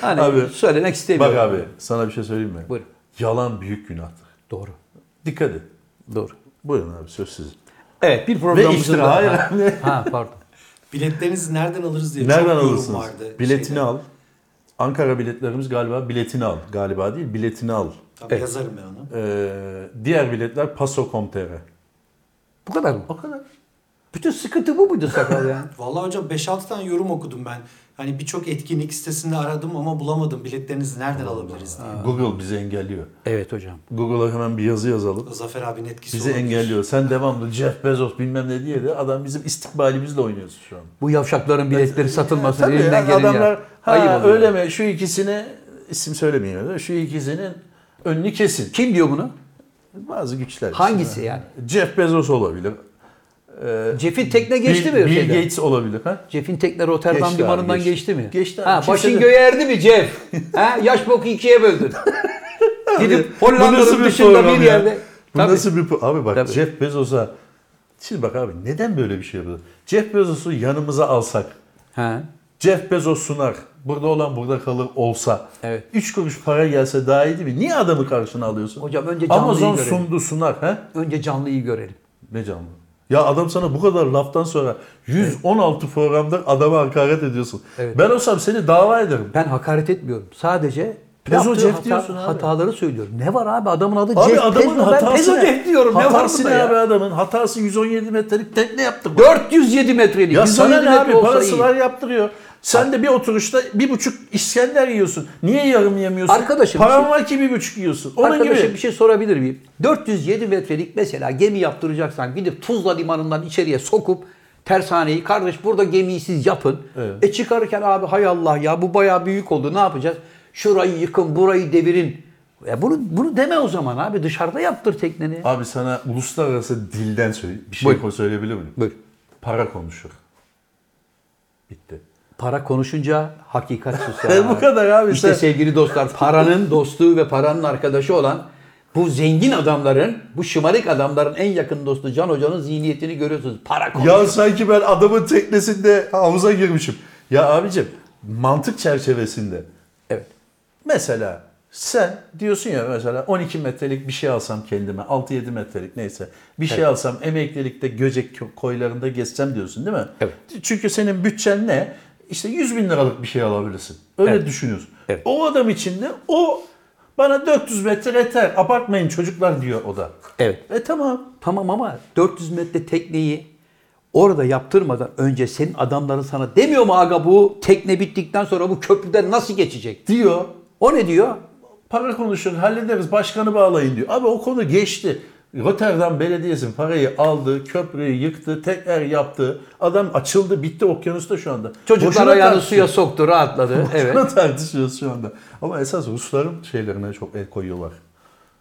S3: hani
S2: Abi,
S3: söylemek istemiyorum.
S2: Bak abi sana bir şey söyleyeyim mi?
S3: Buyurun.
S2: Yalan büyük günahtır.
S3: Doğru.
S2: Dikkat et.
S3: Doğru.
S2: Buyurun abi söz sizin.
S3: Evet bir
S2: Ve
S3: programımızın
S2: iftira.
S3: daha-
S2: Hayır.
S3: Ha, ha pardon.
S4: Biletlerinizi nereden alırız diye
S2: Nereden
S4: çok yorum
S2: alırsınız?
S4: vardı.
S2: Biletini
S4: şeyde.
S2: al. Ankara biletlerimiz galiba biletini al. Galiba değil biletini al.
S4: Tabii yazarım ben onu.
S2: Ee, diğer biletler paso.com.tr.
S3: Bu kadar mı?
S2: O kadar.
S3: Bütün sıkıntı bu muydu sakal yani?
S4: Vallahi hocam 5-6 tane yorum okudum ben. Hani birçok etkinlik sitesinde aradım ama bulamadım biletlerinizi nereden alabiliriz diye.
S2: Google bizi engelliyor.
S3: evet hocam.
S2: Google'a hemen bir yazı yazalım.
S4: Zafer abinin etkisi
S2: Bizi
S4: olabilir.
S2: engelliyor. Sen devamlı Jeff Bezos bilmem ne diye de adam bizim istikbalimizle oynuyorsun şu an.
S3: Bu yavşakların biletleri satılmasın
S2: Tabii
S3: elinden
S2: yani
S3: geleni
S2: adamlar
S3: yap.
S2: ha,
S3: Ayıp oluyor.
S2: öyle mi şu ikisini isim söylemeyeyim öyle. Şu ikisinin önünü kesin.
S3: Kim diyor bunu?
S2: Bazı güçler.
S3: Hangisi yani?
S2: Jeff Bezos olabilir.
S3: Cef'in tekne geçti
S2: Bill,
S3: mi?
S2: Bill
S3: şeyden?
S2: Gates olabilir. Ha?
S3: Cef'in tekne Rotterdam
S2: Geçti abi,
S3: limanından
S2: geçti.
S3: geçti. mi?
S2: Geçti abi.
S3: Ha,
S2: Kimse
S3: başın
S2: de-
S3: göğe erdi mi Cef? ha, yaş boku ikiye böldün. Gidip
S2: Bu nasıl
S3: Hollanda'nın
S2: bir
S3: dışında
S2: program
S3: bir
S2: ya?
S3: yerde.
S2: Bu
S3: Tabii.
S2: nasıl bir... pro- Abi bak
S3: Tabii.
S2: Jeff Bezos'a... Şimdi bak abi neden böyle bir şey yapıyorlar? Jeff Bezos'u yanımıza alsak,
S3: Ha.
S2: Jeff Bezos sunar. Burada olan burada kalır olsa.
S3: Evet.
S2: 3 kuruş para gelse daha iyi değil mi? Niye adamı karşına alıyorsun?
S3: Hocam önce canlıyı
S2: Amazon
S3: görelim.
S2: sundu sunar. He?
S3: Önce canlıyı görelim.
S2: Ne canlı? Ya adam sana bu kadar laftan sonra 116 programda adama hakaret ediyorsun.
S3: Evet.
S2: Ben olsam seni dava ederim.
S3: Ben hakaret etmiyorum. Sadece
S2: Pezo
S3: yaptığı
S2: Jeff diyorsun abi.
S3: hataları söylüyorum. Ne var abi adamın adı
S2: Abi
S3: Jeff
S2: adamın
S3: Pezo. Ben
S2: hatası
S3: Pezo
S2: ne?
S3: Jeff diyorum. Ne var
S2: hatası
S3: bunda
S2: ne abi
S3: ya?
S2: adamın? Hatası 117 metrelik tekne yaptı. bu.
S3: 407 metrelik.
S2: Ya
S3: 117
S2: sana ne
S3: metre
S2: abi
S3: olsa
S2: parası
S3: iyi.
S2: var yaptırıyor. Sen de bir oturuşta bir buçuk İskender yiyorsun. Niye yarım yemiyorsun?
S3: Arkadaşım,
S2: Paran
S3: şimdi-
S2: var ki bir buçuk yiyorsun. Onun
S3: Arkadaşım
S2: gibi.
S3: bir şey sorabilir miyim? 407 metrelik mesela gemi yaptıracaksan gidip Tuzla limanından içeriye sokup tersaneyi kardeş burada gemiyi siz yapın.
S2: Evet.
S3: E çıkarırken abi hay Allah ya bu bayağı büyük oldu ne yapacağız? Şurayı yıkın burayı devirin. Ya bunu bunu deme o zaman abi. Dışarıda yaptır tekneni.
S2: Abi sana uluslararası dilden söyle bir şey
S3: Buyur.
S2: koy- söyleyebilir miyim?
S3: Buyur.
S2: Para konuşur. Bitti.
S3: Para konuşunca hakikat susar.
S2: E, bu kadar abi.
S3: İşte
S2: Sen-
S3: sevgili dostlar paranın dostu ve paranın arkadaşı olan bu zengin adamların, bu şımarık adamların en yakın dostu Can Hoca'nın zihniyetini görüyorsunuz. Para konuşuyor.
S2: Ya sanki ben adamın teknesinde havuza girmişim. Ya abicim mantık çerçevesinde
S3: Evet.
S2: mesela sen diyorsun ya mesela 12 metrelik bir şey alsam kendime 6-7 metrelik neyse bir şey alsam emeklilikte Göcek kö- koylarında gezsem diyorsun değil mi?
S3: Evet.
S2: Çünkü senin bütçen ne? İşte 100 bin liralık bir şey alabilirsin. Öyle
S3: Evet.
S2: düşünüyorsun.
S3: Evet.
S2: O adam için de o bana 400 metre yeter abartmayın çocuklar diyor o da.
S3: Evet.
S2: E tamam.
S3: Tamam ama 400 metre tekneyi orada yaptırmadan önce senin adamların sana demiyor mu aga bu tekne bittikten sonra bu köprüden nasıl geçecek?
S2: Diyor.
S3: O ne diyor?
S2: para konuşun hallederiz başkanı bağlayın diyor. Abi o konu geçti. Rotterdam Belediyesi parayı aldı, köprüyü yıktı, tekrar yaptı. Adam açıldı, bitti okyanusta şu anda.
S3: Çocuklar
S2: Boşuna
S3: ayağını
S2: tartışıyor.
S3: suya soktu, rahatladı. Evet.
S2: Boşuna tartışıyoruz şu anda. Ama esas Rusların şeylerine çok el koyuyorlar.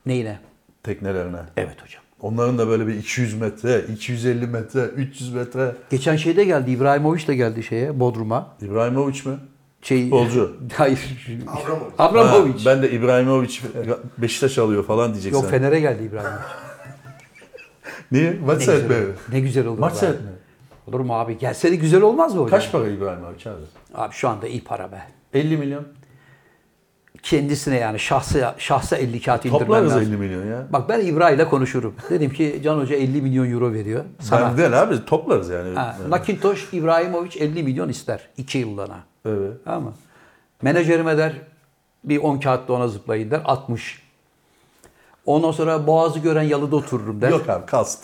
S3: Neyine?
S2: Teknelerine.
S3: Evet hocam.
S2: Onların da böyle bir 200 metre, 250 metre, 300 metre.
S3: Geçen şeyde geldi, İbrahimovic de geldi şeye, Bodrum'a.
S2: İbrahimovic mi?
S3: Şey,
S2: Futbolcu.
S3: Hayır.
S5: Abramovich.
S3: Abramovich.
S2: Ha, ben de İbrahimovic Beşiktaş alıyor falan diyeceksin.
S3: Yok Fener'e geldi İbrahimovic.
S2: Niye? Maç
S3: Ne güzel
S2: seyretmeye
S3: olur.
S2: mi?
S3: Ne güzel olur.
S2: Maç
S3: be.
S2: seyretmeye mi?
S3: Olur mu abi? Gelse de güzel olmaz mı hocam?
S2: Kaç para İbrahimovic abi?
S3: Abi şu anda iyi para be.
S2: 50 milyon.
S3: Kendisine yani şahsa, şahsa 50 kağıt indirmen
S2: Toplarız
S3: lazım.
S2: 50 milyon ya.
S3: Bak ben İbrahim'le konuşurum. Dedim ki Can Hoca 50 milyon euro veriyor sana.
S2: Ben değil abi toplarız yani.
S3: Ha,
S2: Evet.
S3: Nakintosh İbrahimovic 50 milyon ister 2 yıllığına.
S2: Evet.
S3: Tamam mı? Menajerime der bir 10 kağıtla ona zıplayın der 60. Ondan sonra Boğaz'ı gören yalıda otururum der.
S2: Yok abi kalsın.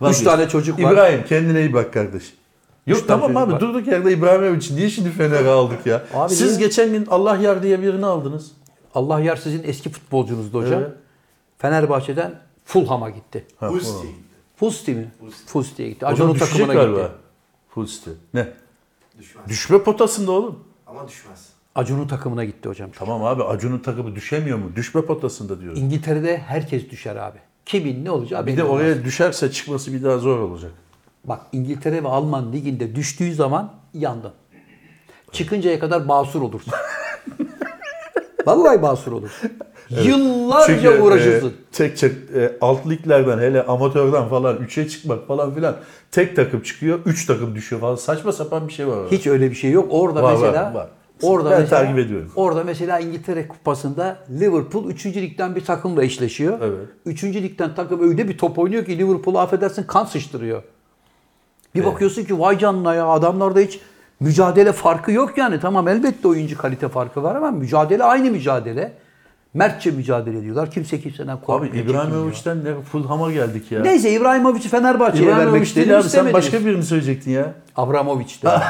S2: tamam.
S3: Üç tane çocuk var.
S2: İbrahim kendine iyi bak kardeş. Yok
S3: Üç tane çocuk
S2: tamam abi
S3: var.
S2: durduk yerde İbrahim için niye şimdi Fener'e aldık ya?
S3: Abi
S2: Siz
S3: niye?
S2: geçen gün Allah yar diye birini aldınız.
S3: Allah yar sizin eski futbolcunuzdu hocam.
S2: Evet.
S3: Fenerbahçe'den Fulham'a gitti.
S2: Ha,
S5: Husti.
S3: Fusti mi? Fusti'ye gitti.
S2: Hocam
S3: Acun'un
S2: düşecek
S3: takımına
S2: galiba.
S3: gitti.
S2: Hulsti. Ne?
S5: Düşmez.
S2: Düşme potasında oğlum.
S5: Ama düşmez.
S3: Acun'un takımına gitti hocam.
S2: Tamam abi Acun'un takımı düşemiyor mu? Düşme potasında diyoruz.
S3: İngiltere'de herkes düşer abi. Kimin ne olacağı
S2: Bir
S3: belli
S2: de
S3: olmaz.
S2: oraya düşerse çıkması bir daha zor olacak.
S3: Bak İngiltere ve Alman liginde düştüğün zaman yandın. Çıkıncaya kadar basur olursun. Vallahi basur olursun. Yıllarca
S2: Çünkü
S3: uğraşırsın.
S2: e, tek tek e, alt liglerden hele amatörden falan 3'e çıkmak falan filan tek takım çıkıyor, 3 takım düşüyor falan. Saçma sapan bir şey var. orada.
S3: Hiç öyle bir şey yok. Orada
S2: Var,
S3: mesela
S2: var, var.
S3: orada
S2: Ben
S3: mesela,
S2: takip ediyorum.
S3: Orada mesela İngiltere Kupası'nda Liverpool 3. ligden bir takımla eşleşiyor.
S2: Evet.
S3: 3. ligden takım öyle bir top oynuyor ki Liverpool'u affedersin kan sıçtırıyor. Bir bakıyorsun ki vay canına ya adamlarda hiç mücadele farkı yok yani. Tamam elbette oyuncu kalite farkı var ama mücadele aynı mücadele. Mertçe mücadele ediyorlar. Kimse kimseden
S2: Abi
S3: korkmuyor. çekinmiyor.
S2: İbrahimovic'den ne Fulham'a geldik ya.
S3: Neyse İbrahimovic'i Fenerbahçe'ye vermek
S2: İbrahimovic
S3: istedim.
S2: değil abi
S3: istemediniz.
S2: sen başka birini söyleyecektin ya.
S3: Abramovich de.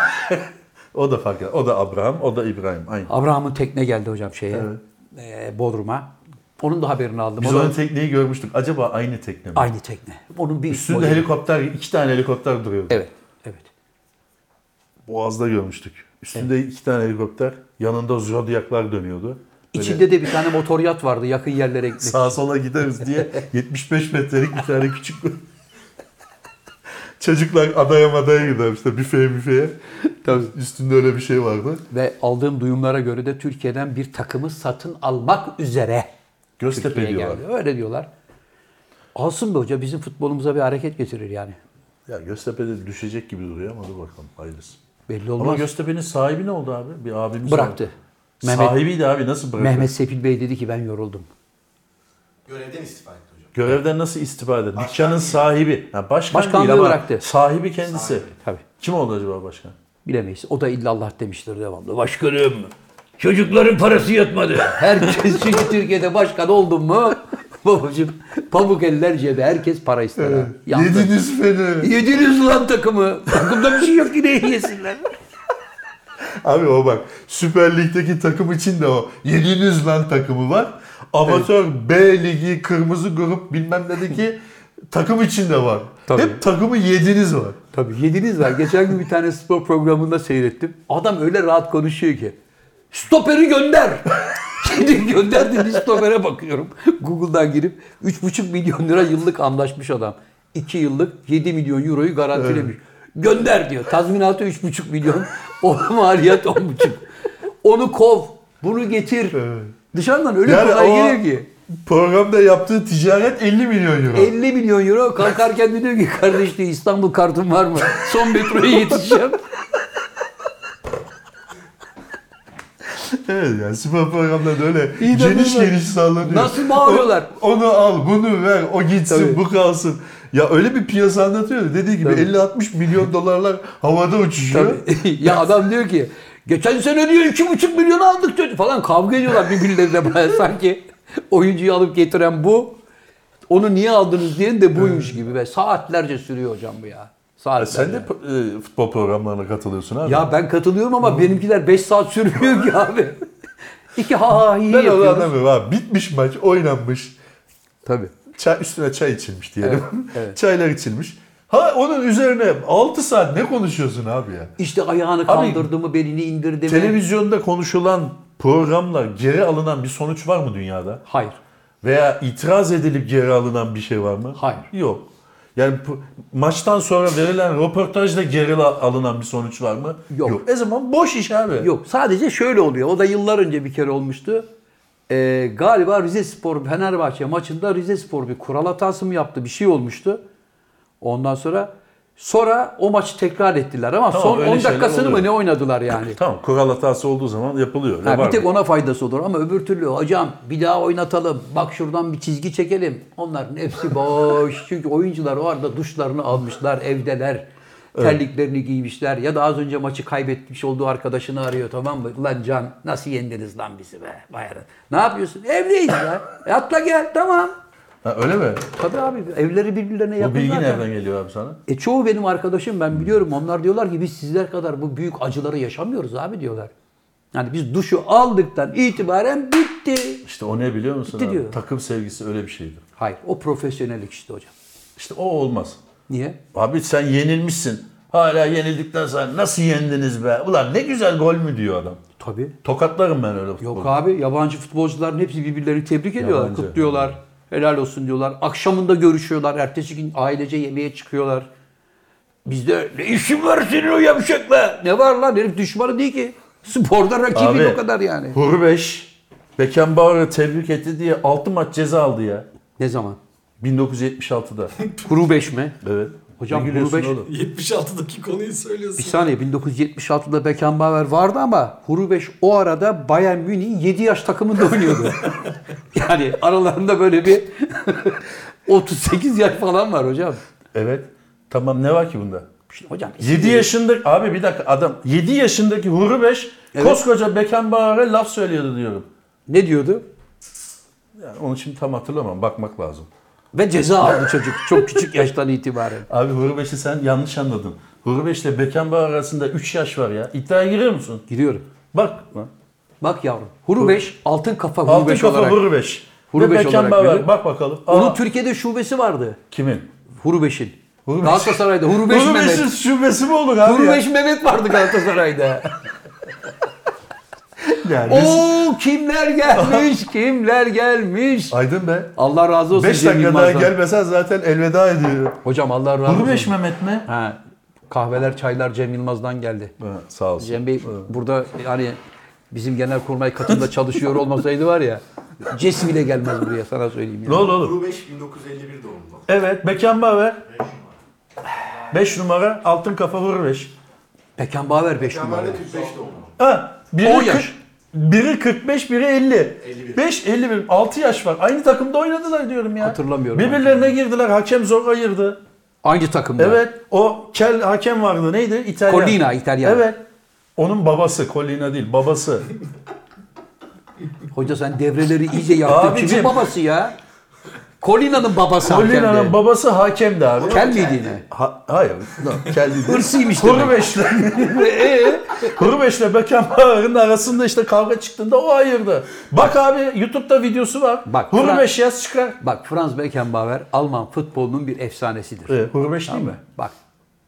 S2: O da fark eder. O da Abraham, o da İbrahim. Aynı.
S3: Abraham'ın tekne geldi hocam şeye. eee, Bodrum'a. Onun da haberini aldım.
S2: Biz
S3: O da-
S2: onun tekneyi görmüştük. Acaba aynı tekne mi?
S3: Aynı tekne. Onun bir üst
S2: Üstünde
S3: modeli.
S2: helikopter, iki tane helikopter duruyordu.
S3: Evet. Evet.
S2: Boğaz'da görmüştük. Üstünde iki tane helikopter, yanında zodyaklar dönüyordu. Böyle
S3: İçinde de bir tane motor yat vardı yakın yerlere gitmek.
S2: sağa sola gideriz diye 75 metrelik bir tane küçük çocuklar adaya madaya gider işte büfeye müfeye. Üstünde öyle bir şey vardı.
S3: Ve aldığım duyumlara göre de Türkiye'den bir takımı satın almak üzere
S2: Göztepe
S3: Türkiye'ye
S2: diyorlar.
S3: geldi. Öyle diyorlar. Alsın be hoca bizim futbolumuza bir hareket getirir yani.
S2: Ya Göztepe'de düşecek gibi duruyor ama dur bakalım hayırlısı.
S3: Belli
S2: Ama
S3: olmaz.
S2: Göztepe'nin sahibi ne oldu abi? Bir abimiz
S3: Bıraktı.
S2: vardı.
S3: Mehmet-
S2: Sahibiydi abi nasıl bıraktı?
S3: Mehmet Sepil Bey dedi ki ben yoruldum.
S5: Görevden istifa etti hocam.
S2: Görevden nasıl istifa edildi? Dükkanın sahibi. Ha, başkan
S3: Başkanlığı
S2: değil ama
S3: bıraktı.
S2: sahibi kendisi.
S3: Tabii.
S2: Kim oldu acaba başkan?
S3: Bilemeyiz. O da illallah demiştir devamlı. Başkanım çocukların parası yatmadı. Herkes çünkü Türkiye'de başkan oldun mu babacığım pamuk eller cebe herkes para ister. ha. Yandı.
S2: Yediniz feneri.
S3: Yediniz lan takımı. Takımda bir şey yok yine yesinler.
S2: Abi o bak Süper Lig'deki takım için de o. Yediniz lan takımı var. Amatör B ligi kırmızı grup bilmem nedeki takım için de var.
S3: Tabii.
S2: Hep takımı yediniz var.
S3: Tabii yediniz var. Geçen gün bir tane spor programında seyrettim. Adam öyle rahat konuşuyor ki. Stoperi gönder. Senin gönderdiğin listobere bakıyorum. Google'dan girip 3,5 milyon lira yıllık anlaşmış adam. 2 yıllık 7 milyon euroyu garantilemiş. Gönder diyor. Tazminatı 3,5 milyon. Ona maliyet 10,5. Onu kov. Bunu getir. Dışarıdan öyle
S2: Yani
S3: kolay
S2: o-
S3: geliyor ki.
S2: Programda yaptığı ticaret 50 milyon euro.
S3: 50 milyon euro kalkarken de diyor ki kardeş diyor İstanbul kartın var mı? Son metroya yetişeceğim.
S2: Evet yani spor programlarında öyle
S3: İnanılmaz.
S2: geniş geniş sallanıyor.
S3: Nasıl bağırıyorlar?
S2: O- onu al, bunu ver, o gitsin,
S3: Tabii.
S2: bu kalsın. Ya öyle bir piyasa anlatıyor. Dediği gibi
S3: Tabii.
S2: 50-60 milyon dolarlar havada uçuşuyor.
S3: Tabii. ya adam diyor ki geçen sene diyor iki buçuk milyon aldık diyor falan kavga ediyorlar birbirlerine böyle sanki oyuncuyu alıp getiren bu onu niye aldınız diyen de buymuş gibi ve saatlerce sürüyor hocam bu ya.
S2: Ya
S3: Saatlerce.
S2: Sen de e, futbol programlarına katılıyorsun abi.
S3: Ya ben katılıyorum ama benimkiler 5 saat sürmüyor ki abi. İki ha ha iyi
S2: ben onu
S3: yapıyoruz.
S2: anlamıyorum abi. Bitmiş maç, oynanmış.
S3: Tabii.
S2: Çay, üstüne çay içilmiş diyelim.
S3: Evet, evet.
S2: Çaylar içilmiş. Ha onun üzerine 6 saat ne konuşuyorsun abi ya?
S3: İşte ayağını kaldırdı mı, belini indirdi mi?
S2: Televizyonda konuşulan programla geri alınan bir sonuç var mı dünyada?
S3: Hayır.
S2: Veya itiraz edilip geri alınan bir şey var mı?
S3: Hayır.
S2: Yok. Yani bu- maçtan sonra verilen röportajla geri la- alınan bir sonuç var mı?
S3: Yok.
S2: E zaman boş iş abi.
S3: Yok sadece şöyle oluyor. O da yıllar önce bir kere olmuştu. Ee, galiba Rize Spor Fenerbahçe maçında Rize Spor bir kural hatası mı yaptı? Bir şey olmuştu. Ondan sonra sonra o maçı tekrar ettiler ama
S2: Tamam,
S3: son
S2: öyle
S3: 10 dakikasını
S2: şeyler
S3: mı
S2: oluyor.
S3: ne oynadılar yani?
S2: Tamam kural hatası olduğu zaman yapılıyor. Ne
S3: Ha,
S2: var
S3: bir tek
S2: mı?
S3: ona faydası olur ama öbür türlü hocam bir daha oynatalım. Bak şuradan bir çizgi çekelim. Onların hepsi boş. Çünkü oyuncular o arada duşlarını almışlar, evdeler. Terliklerini giymişler ya da az önce maçı kaybetmiş olduğu arkadaşını arıyor tamam mı? Lan Can nasıl yendiniz lan bizi be? Vay arkadaş. Ne yapıyorsun? Evdeyiz ya. E atla gel tamam.
S2: Ha, öyle mi?
S3: Tabii abi evleri birbirlerine yakın
S2: Bu bilgi
S3: zaten.
S2: nereden geliyor abi sana?
S3: E çoğu benim arkadaşım ben biliyorum onlar diyorlar ki biz sizler kadar bu büyük acıları yaşamıyoruz abi diyorlar. Yani biz duşu aldıktan itibaren bitti.
S2: İşte o ne biliyor musun
S3: Bitti
S2: abi?
S3: diyor.
S2: Takım sevgisi öyle bir şeydir.
S3: Hayır o profesyonellik işte hocam.
S2: İşte o olmaz.
S3: Niye?
S2: Abi sen yenilmişsin. Hala yenildikten sonra nasıl yendiniz be? Ulan ne güzel gol mü diyor adam.
S3: Tabii.
S2: Tokatlarım ben öyle futbolu.
S3: Yok abi yabancı futbolcuların hepsi birbirlerini tebrik ediyorlar,
S2: Yabancı.
S3: kutluyorlar. Helal olsun diyorlar. Akşamında görüşüyorlar. Ertesi gün ailece yemeğe çıkıyorlar. Bizde ne işin var senin o yavşakla? Ne var lan herif düşmanı değil ki. Sporda rakibin
S2: Abi,
S3: o kadar yani.
S2: Hurbeş Beckenbauer'ı tebrik etti diye 6 maç ceza aldı ya.
S3: Ne zaman?
S2: 1976'da.
S3: Kuru beş mi?
S2: evet.
S3: Hocam,
S2: Ne gülüyorsun
S3: Hurbeş-
S2: oğlum?
S4: 76'daki konuyu söylüyorsun.
S3: Bir saniye 1976'da Beckenbauer vardı ama Hurubeş o arada Bayern Münih'in 7 yaş takımında oynuyordu. yani aralarında böyle bir 38 yaş falan var hocam.
S2: Evet. Tamam ne var ki bunda?
S3: Şimdi hocam
S2: 7 yaşındaki abi bir dakika adam 7 yaşındaki Hurbeş koskoca Beckenbauer'e laf söylüyordu diyorum.
S3: ne diyordu?
S2: Yani onu şimdi tam hatırlamam bakmak lazım.
S3: Ve ceza aldı çocuk çok küçük yaştan itibaren.
S2: Abi Hurbeş'i sen yanlış anladın. Hurbeş ile Beckenbauer arasında 3 yaş var ya. İddiaya giriyor musun?
S3: Giriyorum.
S2: Bak lan.
S3: Bak yavrum. Hurubeş altın kafa
S2: Altın
S3: Hurubeş
S2: kafa
S3: olarak.
S2: Hurbeş.
S3: Hurbeş
S2: Ve
S3: olarak
S2: Beckenbauer
S3: biri.
S2: bak bakalım. Aa,
S3: Onun Türkiye'de şubesi vardı.
S2: kimin?
S3: Hurubeş'in.
S2: Hurubeş.
S3: Galatasaray'da Hurubeş,
S2: Hurbeş'in
S3: Mehmet.
S2: şubesi mi olur abi ya?
S3: Hurubeş Mehmet vardı Galatasaray'da.
S2: Yani biz-
S3: Oo kimler gelmiş, kimler gelmiş.
S2: Aydın be.
S3: Allah razı olsun.
S2: 5
S3: Cem
S2: dakika daha
S3: Yılmaz'dan.
S2: gelmesen zaten elveda ediyor.
S3: Hocam Allah razı olsun.
S2: Hurbeş Mehmet mi?
S3: Ha, kahveler, çaylar Cem Yılmaz'dan geldi.
S2: Ha, sağ olsun.
S3: Cem Bey burada yani bizim genelkurmay katında çalışıyor olmasaydı var ya Cesi bile gelmez buraya sana söyleyeyim. yani.
S2: Ne oldu oğlum?
S5: Rubeş 1951 doğumlu.
S2: Evet, Beckenbauer. 5 numara, altın kafa Hurbeş.
S3: Beckenbauer 5 numara.
S5: Kemal'de 45 doğumlu.
S2: Ha, biri
S3: On
S2: kırk-
S3: yaş.
S2: Biri 45, biri 50.
S5: 51.
S2: 5, 51. 6 yaş var. Aynı takımda oynadılar diyorum ya.
S3: Hatırlamıyorum.
S2: Birbirlerine girdiler. Hakem zor ayırdı.
S3: Aynı takımda.
S2: Evet. O kel hakem vardı. Neydi? İtalyan.
S3: Collina, İtalyan.
S2: Evet. Onun babası. Collina değil. Babası.
S3: Hoca sen devreleri iyice yaptın.
S2: Abicim.
S3: Kimin babası ya? Colina'nın babası. hakemdi.
S2: Collina'nın babası hakemdi abi.
S3: Kel miydi yine?
S2: Ha- hayır. No, kel değil. Ee,
S3: Hırsıymış demek.
S2: Hurbeş'le Hurbeş'le Beckenbauer'ın arasında işte kavga çıktığında o ayırdı. Bak abi YouTube'da videosu var.
S3: Bak,
S2: Bak, Hurbeş yaz çıkar.
S3: Bak Franz Beckenbauer Alman futbolunun bir efsanesidir.
S2: E, Hurbeş değil
S3: Tamam
S2: mi?
S3: mı? Bak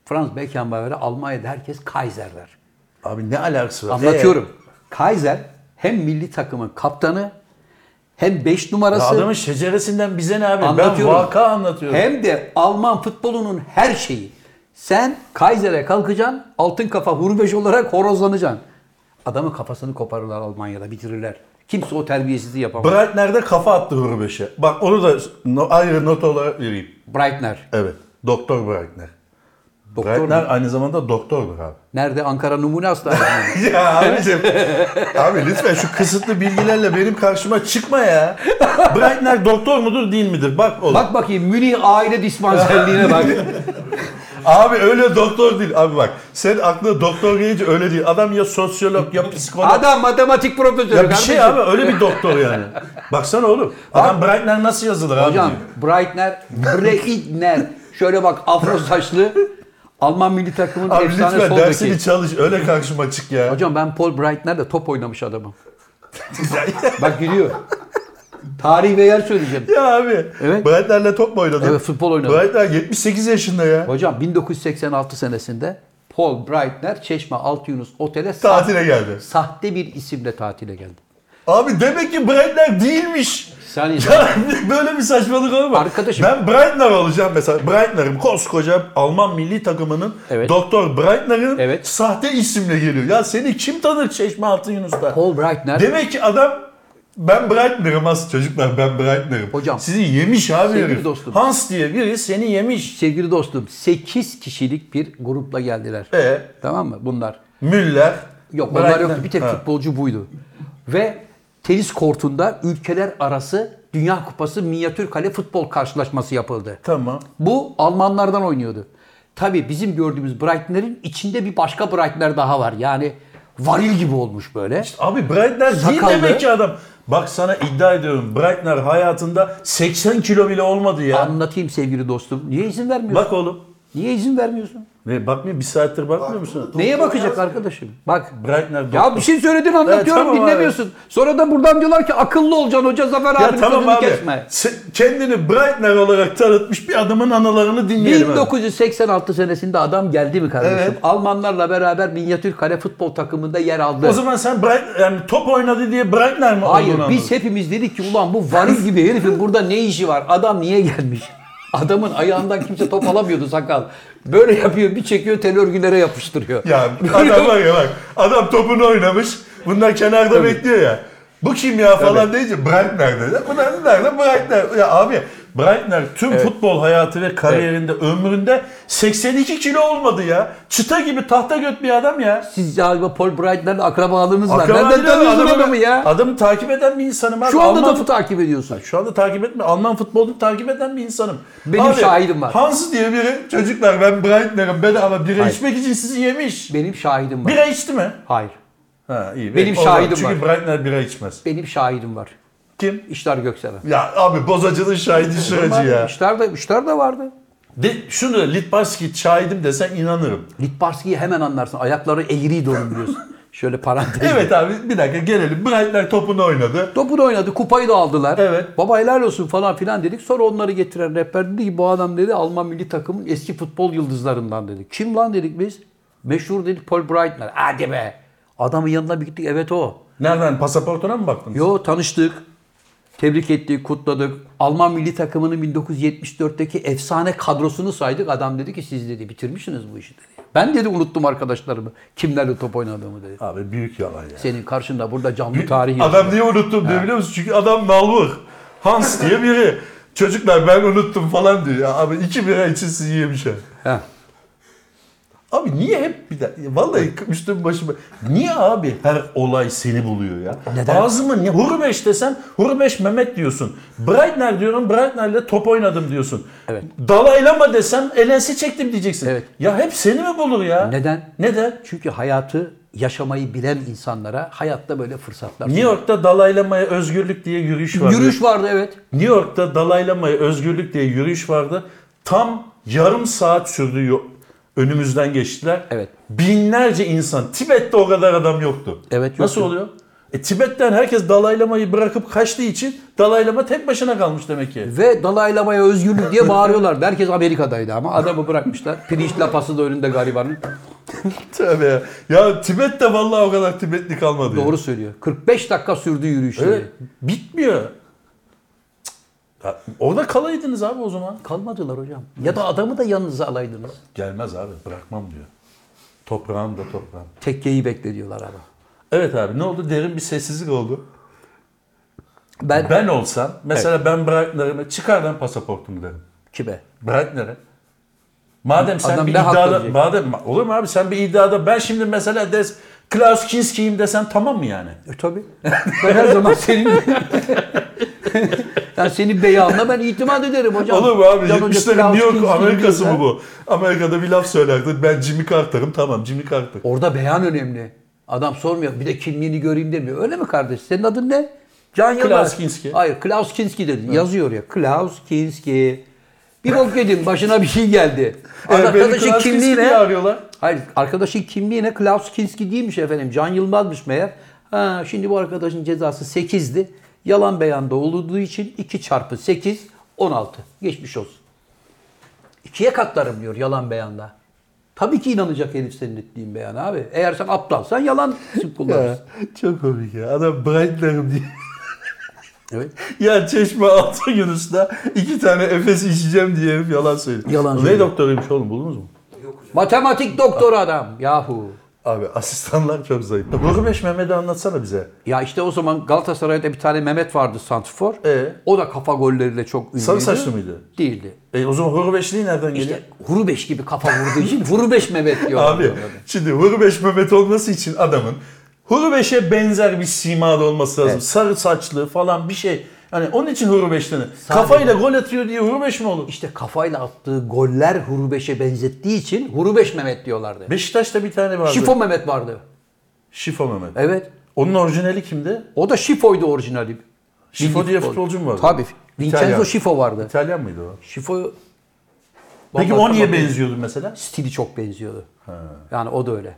S3: Franz Beckenbauer'e Almanya'da herkes Kaiser der.
S2: Abi ne alakası var?
S3: Anlatıyorum. Kaiser hem milli takımın kaptanı hem 5 numarası
S2: Ee, adamın şeceresinden bize ne abi? E, Ben
S3: Anlatıyorum.
S2: vaka anlatıyorum.
S3: hem de Alman futbolunun her şeyi. Sen Kaiser'e kalkacaksın, altın kafa hurbeş olarak horozlanacaksın. Adamın kafasını koparırlar Almanya'da, bitirirler. Kimse o terbiyesizliği yapamaz.
S2: Breitner'de kafa attı Hurbeş'e. Bak onu da no, ayrı not olarak vereyim.
S3: Breitner.
S2: Evet. Doktor Breitner.
S3: Doktor.
S2: Breitner aynı zamanda doktordur abi.
S3: Nerede? Ankara Numune Hastanesi.
S2: Ya abicim. abi lütfen şu kısıtlı bilgilerle benim karşıma çıkma ya. Breitner doktor mudur değil midir? Bak oğlum.
S3: bak bakayım Münih aile dispanserliğine bak.
S2: Abi öyle doktor değil. Abi bak sen aklına doktor gelince öyle değil. Adam ya sosyolog ya psikolog.
S3: Adam matematik profesörü.
S2: ya bir
S3: kardeşim.
S2: şey abi öyle bir doktor yani. Baksana oğlum. Adam Breitner nasıl yazılır abi?
S3: Hocam
S2: diyor.
S3: Breitner, Breitner. Şöyle bak afro saçlı Alman milli takımın
S2: Abi
S3: efsane
S2: lütfen
S3: sol beki.
S2: dersini çalış. Öyle karşıma çık ya.
S3: Hocam ben Paul Breitner'le top oynamış adamım. Bak gülüyor. Tarih ve yer söyleyeceğim.
S2: Ya abi.
S3: Evet.
S2: Breitner'le top mu oynadın?
S3: Evet, futbol oynadım.
S2: Breitner 78 yaşında ya.
S3: Hocam 1986 senesinde Paul Breitner Çeşme Alt Yunus Otel'e sa-
S2: Tatile geldi.
S3: sahte bir isimle tatile geldi.
S2: Abi demek ki Breitner değilmiş.
S3: Sen izle.
S2: Ya böyle bir saçmalık olmaz.
S3: Arkadaşım-
S2: Ben Breitner olacağım mesela. Breitner'im koskoca Alman milli takımının
S3: Evet.
S2: Doktor Breitner'in
S3: Evet.
S2: sahte isimle geliyor. Ya seni kim tanır Çeşme Altın Yunus'ta?
S3: Paul Breitner
S2: Demek ki adam ben Breitner'ım az çocuklar ben Breitner'ım.
S3: Hocam.
S2: Sizi yemiş abi
S3: Sevgili
S2: herif.
S3: dostum.
S2: Hans diye biri seni yemiş.
S3: sevgili dostum 8 kişilik bir grupla geldiler.
S2: E
S3: Tamam mı bunlar?
S2: Müller.
S3: Yok onlar
S2: Breitner.
S3: yoktu. Bir tek
S2: Ha.
S3: futbolcu buydu. Ve tenis kortunda ülkeler arası Dünya Kupası minyatür kale futbol karşılaşması yapıldı.
S2: Tamam.
S3: Bu Almanlardan oynuyordu. Tabii bizim gördüğümüz Breitner'in içinde bir başka Breitner daha var. Yani varil gibi olmuş böyle.
S2: Abi Breitner değil
S3: Sakallı.
S2: demek ki adam. Bak sana iddia ediyorum Breitner hayatında 80 kilo bile olmadı ya.
S3: Anlatayım sevgili dostum. Niye izin vermiyorsun?
S2: Bak oğlum.
S3: Niye izin vermiyorsun?
S2: Ne bakmıyor bir saattir bakmıyor musun?
S3: Neye bakacak arkadaşım? Bak.
S2: Breitner doktor.
S3: Ya bir şey söyledin anlatıyorum
S2: Evet, tamam
S3: dinlemiyorsun. Sonra da buradan diyorlar ki akıllı olacaksın hoca Zafer
S2: Ya
S3: abinin
S2: tamam
S3: sözünü
S2: abi.
S3: kesme.
S2: Sen kendini Breitner olarak tanıtmış bir adamın analarını dinleyelim. abi.
S3: 1986 senesinde adam geldi mi kardeşim?
S2: Evet.
S3: Almanlarla beraber minyatür kale futbol takımında yer aldı.
S2: O zaman sen Breit, yani top oynadı diye Breitner mi
S3: Hayır
S2: olduğunu
S3: biz hepimiz dedik ki ulan bu varil gibi herifin burada ne işi var? Adam niye gelmiş? Adamın ayağından kimse top alamıyordu sakal. Böyle yapıyor bir çekiyor tel örgülere yapıştırıyor.
S2: anladın? Ya adam var ya bak adam topunu oynamış. Bunlar kenarda bekliyor ya. Bu kim ya falan deyince Breitner dedi. Bunlar nerede Breitner? Ya abi Breitner tüm futbol hayatı ve kariyerinde ömründe 82 kilo olmadı ya. Çıta gibi tahta göt bir adam ya.
S3: Siz galiba Paul Bright'lerle akrabalığınız var.
S2: Akraban
S3: Nereden
S2: değil abi,
S3: tanıyorsun adamı ya?
S2: Adamı takip eden bir insanım abi.
S3: Şu anda
S2: Alman
S3: da mı takip ediyorsun?
S2: Şu anda takip etme. Alman futbolunu takip eden bir insanım.
S3: Benim şahidim var.
S2: Hans diye biri çocuklar ben Breitner'ım bedava bira
S3: Hayır.
S2: içmek için sizi yemiş.
S3: Benim şahidim var.
S2: Bira içti mi?
S3: Hayır.
S2: Ha iyi.
S3: Benim
S2: O zaman,
S3: şahidim
S2: çünkü
S3: var.
S2: Breitner bira içmez.
S3: Benim şahidim var.
S2: Kim?
S3: İşler Gökseven.
S2: Ya abi bozacının şahidi şuracı ya.
S3: İşler de, İşler de vardı.
S2: De, şunu Litbarski şahidim desen inanırım.
S3: Litbarski'yi hemen anlarsın. Ayakları eğriydi onun biliyorsun. Şöyle parantez.
S2: Evet abi bir dakika gelelim. Breitner topunu oynadı.
S3: Topu da oynadı, kupayı da aldılar.
S2: Evet.
S3: Baba helal olsun falan filan dedik. Sonra onları getiren rehber dedi ki bu adam dedi Alman milli takımın eski futbol yıldızlarından dedi. Kim lan dedik biz? Meşhur dedik Paul Breitner. Hadi be. Adamın yanına bir gittik evet o.
S2: Nereden pasaportuna mı baktın?
S3: Yo tanıştık. Tebrik ettik, kutladık. Alman milli takımının 1974'teki efsane kadrosunu saydık. Adam dedi ki siz dedi bitirmişsiniz bu işi dedi. Ben dedi unuttum arkadaşlarımı. Kimlerle top oynadığımı dedi.
S2: Abi büyük yalan ya.
S3: Senin karşında burada canlı tarih yazıyor.
S2: Adam niye unuttum diyor biliyor musun? Çünkü adam nalbur. Hans diye biri. Çocuklar ben unuttum falan diyor. Ya abi iki bira için sizi yemiş ha.
S3: Heh.
S2: Abi niye hep bir de vallahi üstüm başıma niye abi her olay seni buluyor ya?
S3: Neden?
S2: Ağzımı niye Hurbeş desem Hurbeş Mehmet diyorsun. Breitner diyorum Breitner'le top oynadım diyorsun.
S3: Evet.
S2: Dalaylama desem elensi çektim diyeceksin.
S3: Evet.
S2: Ya hep seni mi bulur ya?
S3: Neden?
S2: Neden?
S3: Çünkü hayatı yaşamayı bilen insanlara hayatta böyle fırsatlar.
S2: New York'ta Dalaylama'ya özgürlük diye yürüyüş var.
S3: Yürüyüş vardı evet.
S2: New York'ta Dalai Lama'ya özgürlük diye yürüyüş vardı. Tam yarım saat sürdü yo- önümüzden geçtiler.
S3: Evet.
S2: Binlerce insan. Tibet'te o kadar adam yoktu.
S3: Evet,
S2: Nasıl
S3: yoktu.
S2: oluyor? E E, Tibet'ten herkes Dalai Lama'yı bırakıp kaçtığı için Dalai Lama tek başına kalmış demek ki.
S3: Ve Dalai Lama'ya özgürlük diye bağırıyorlardı. Herkes Amerika'daydı ama adamı bırakmışlar. Pirinç lapası da önünde garibanın.
S2: Tövbe ya. Ya Tibet'te vallahi o kadar Tibetli kalmadı. ya.
S3: Doğru söylüyor. 45 dakika sürdü yürüyüşleri.
S2: Evet. Bitmiyor. Cık. Ya, orada kalaydınız abi o zaman.
S3: Kalmadılar hocam. Ya da adamı da yanınıza alaydınız.
S2: Gelmez abi bırakmam diyor. Toprağım da toprağım.
S3: Tekkeyi bekle diyorlar ama.
S2: Evet abi ne oldu? Derin bir sessizlik oldu.
S3: Ben,
S2: Ben olsam mesela ben Breitner'ime çıkar lan pasaportumu derim.
S3: kime?
S2: Breitner'e. Madem sen
S3: Adam
S2: bir
S3: ne hakla
S2: iddiada,
S3: diyecek?
S2: madem, olur mu abi sen bir iddiada ben şimdi mesela des Klaus Kinski'yim desen tamam mı yani?
S3: E tabii. Ben her zaman senin... yani senin beyanına ben itimat ederim hocam.
S2: Olur mu abi?
S3: Can Hoca
S2: 70'lerin
S3: Klaus
S2: New York
S3: Kinski
S2: Amerikası
S3: diyorsa-
S2: mı bu? Amerika'da bir laf söylerdi. Ben Jimmy Carter'ım tamam Jimmy Carter.
S3: Orada beyan önemli. Adam sormuyor. Bir de kimliğini göreyim demiyor. Öyle mi kardeş? Senin adın ne? Can Yılmaz.
S2: Klaus Kinski.
S3: Hayır Klaus Kinski dedi. Yazıyor ya. Klaus Kinski. Bir bok yedin. Başına bir şey geldi.
S2: Eğer beni
S3: Arkadaşın
S2: Klaus Kinski
S3: kimliği
S2: diye
S3: ne?
S2: arıyorlar.
S3: Hayır arkadaşın kimliği ne? Klaus Kinski değilmiş efendim. Can Yılmaz'mış meğer. Ha, şimdi bu arkadaşın cezası 8'di. Yalan beyanda olduğu için 2 çarpı 8 16. Geçmiş olsun. İkiye katlarım diyor yalan beyanda. Tabii ki inanacak herif senin ettiğin beyan abi. Eğer sen aptalsan yalan kullanırsın.
S2: Çok komik ya. Adam Breitner'ım diye.
S3: evet.
S2: ya Çeşme Altın Yunus'ta iki tane Efes içeceğim diye herif yalan söylüyor.
S3: Yalan
S2: Ne
S3: söylüyor.
S2: doktoruymuş oğlum buldunuz mu?
S3: Matematik doktoru adam yahu.
S2: Abi asistanlar çok zayıf. Nuri Beş Mehmet'i anlatsana bize.
S3: Ya işte o zaman Galatasaray'da bir tane Mehmet vardı santrfor.
S2: Ee?
S3: O da kafa golleriyle çok ünlüydü.
S2: Sarı saçlı mıydı?
S3: Değildi.
S2: E o zaman Huru Beşliği nereden geliyor?
S3: İşte Hurubeş gibi kafa vurduğu için Hurubeş Mehmet diyor.
S2: Abi şimdi Huru Beş Mehmet olması için adamın Huru Beş'e benzer bir simada olması lazım.
S3: Evet.
S2: Sarı saçlı falan bir şey. Hani onun için Huru Beş'ten.
S3: Sadece-
S2: Kafayla gol atıyor diye Huru Beş mi olur?
S3: İşte kafayla attığı goller Hurubeş'e benzettiği için Hurubeş Mehmet diyorlardı.
S2: Beşiktaş'ta bir tane vardı.
S3: Şifo Mehmet vardı.
S2: Şifo Mehmet.
S3: Evet.
S2: Onun orijinali kimdi?
S3: O da Şifo'ydu orijinali.
S2: Şifo
S3: Bildiğin
S2: diye
S3: futbol.
S2: futbolcu mu vardı?
S3: Tabii. Vincenzo
S2: İtalyan.
S3: Şifo vardı.
S2: İtalyan mıydı o?
S3: Şifo Vallahi
S2: Peki o niye
S3: tamam.
S2: benziyordu mesela?
S3: Stili çok benziyordu. Yani o da öyle.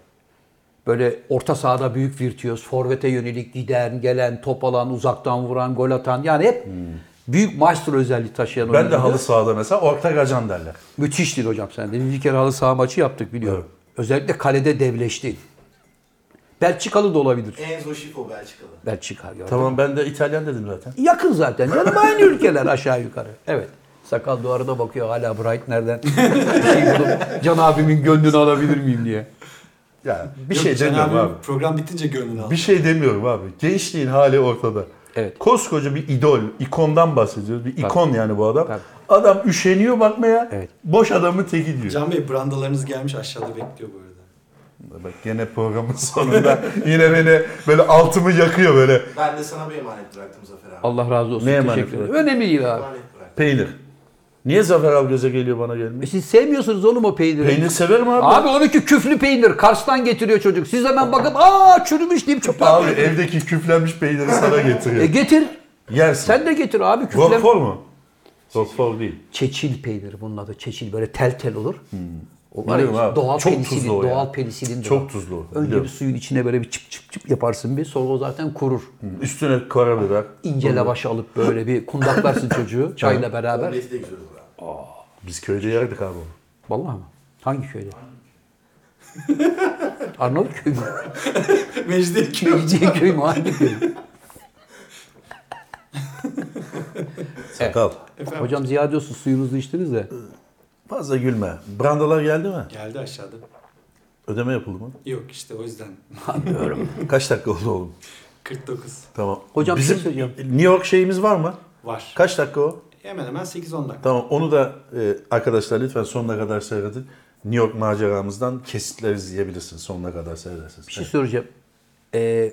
S3: Böyle orta sahada büyük virtüöz, forvete yönelik giden, gelen, top alan, uzaktan vuran, gol atan. Yani hep büyük maestro özelliği taşıyan
S2: Hmm. Ben de
S3: oyuncuydu.
S2: halı sahada mesela ortak ajan derler.
S3: Müthiştir hocam sen de. Bir kere halı saha maçı yaptık biliyorum. Özellikle kalede devleşti. Belçikalı da olabilir.
S5: Enzo Şifo Belçikalı.
S3: Belçika gördüm.
S2: Tamam ben de İtalyan dedim zaten.
S3: Yakın zaten. Canım aynı ülkeler aşağı yukarı. Evet. Sakal duvarına bakıyor hala Bright nereden? Bir şey bulup Can abimin gönlünü alabilir miyim diye.
S2: Ya bir
S4: Yok,
S2: şey
S4: Can
S2: demiyorum
S4: abi,
S2: abi.
S4: Program bitince gönlünü al.
S2: Bir şey demiyorum abi. Gençliğin hali ortada.
S3: Evet.
S2: Koskoca bir idol, ikondan bahsediyoruz. Bir ikon yani bu adam.
S3: Tabii.
S2: Adam üşeniyor bakmaya.
S3: Evet.
S2: Boş adamın teki diyor.
S4: Can Bey brandalarınız gelmiş aşağıda bekliyor bu arada.
S2: Bak gene programın sonunda yine beni böyle altımı yakıyor böyle.
S5: Ben de sana bir emanet bıraktım Zafer abi.
S3: Allah razı olsun.
S2: Ne emanet
S3: Teşekkür ederim.
S2: olarak?
S3: Önemli değil abi.
S5: Emanet bıraktım.
S2: Peynir. Niye Zafer abi göze geliyor bana
S3: E
S2: gelmiyor?
S3: Siz sevmiyorsunuz oğlum o peyniri.
S2: Peynir severim abi.
S3: Abi onunki küflü peynir. Kars'tan getiriyor çocuk. Siz hemen bakıp aa çürümüş deyip çöpe
S2: Abi evdeki küflenmiş peyniri sana getiriyor.
S3: E getir.
S2: Yersin.
S3: Sen de getir abi küflü.
S2: Roquefort mu? Roquefort değil.
S3: Çeçil peyniri bunun adı. Çeçil böyle tel tel olur. O var
S2: Biliyorum
S3: ya,
S2: abi.
S3: doğal
S2: Hmm. Çok
S3: penisilin,
S2: tuzlu o ya.
S3: doğal penisilin. de
S2: Çok
S3: var.
S2: tuzlu o,
S3: Önce
S2: biliyorum.
S3: bir suyun içine böyle bir çıp çıp çıp yaparsın bir. Sonra o zaten kurur.
S2: Hmm. Üstüne karabiber.
S3: İnce lavaş alıp böyle bir kundaklarsın çocuğu çayla beraber.
S5: Omleti de güzel olur abi.
S2: Biz köyde yerdik abi onu.
S3: Vallahi mı? Hangi köyde? Arnavutköy mü?
S4: Mecidiyeköy.
S3: Mecidiyeköy mü? Hangi köy?
S2: Sakal.
S3: Hocam Ziya diyorsun suyunuzu içtiniz de.
S2: Fazla gülme. Brandalar geldi mi?
S4: Geldi aşağıda.
S2: Ödeme yapıldı mı?
S4: Yok işte o yüzden.
S2: Kaç dakika oldu oğlum?
S4: 49
S2: Tamam.
S3: Hocam bir şey
S2: Bizim
S3: söyleyeceğim.
S2: New York şeyimiz var mı?
S4: var.
S2: Kaç dakika o?
S4: Hemen hemen 8-10 dakika.
S2: Tamam onu da e, arkadaşlar lütfen sonuna kadar seyredin. New York maceramızdan kesitler izleyebilirsiniz. Sonuna kadar seyredersiniz.
S3: Bir şey söyleyeceğim. Ee,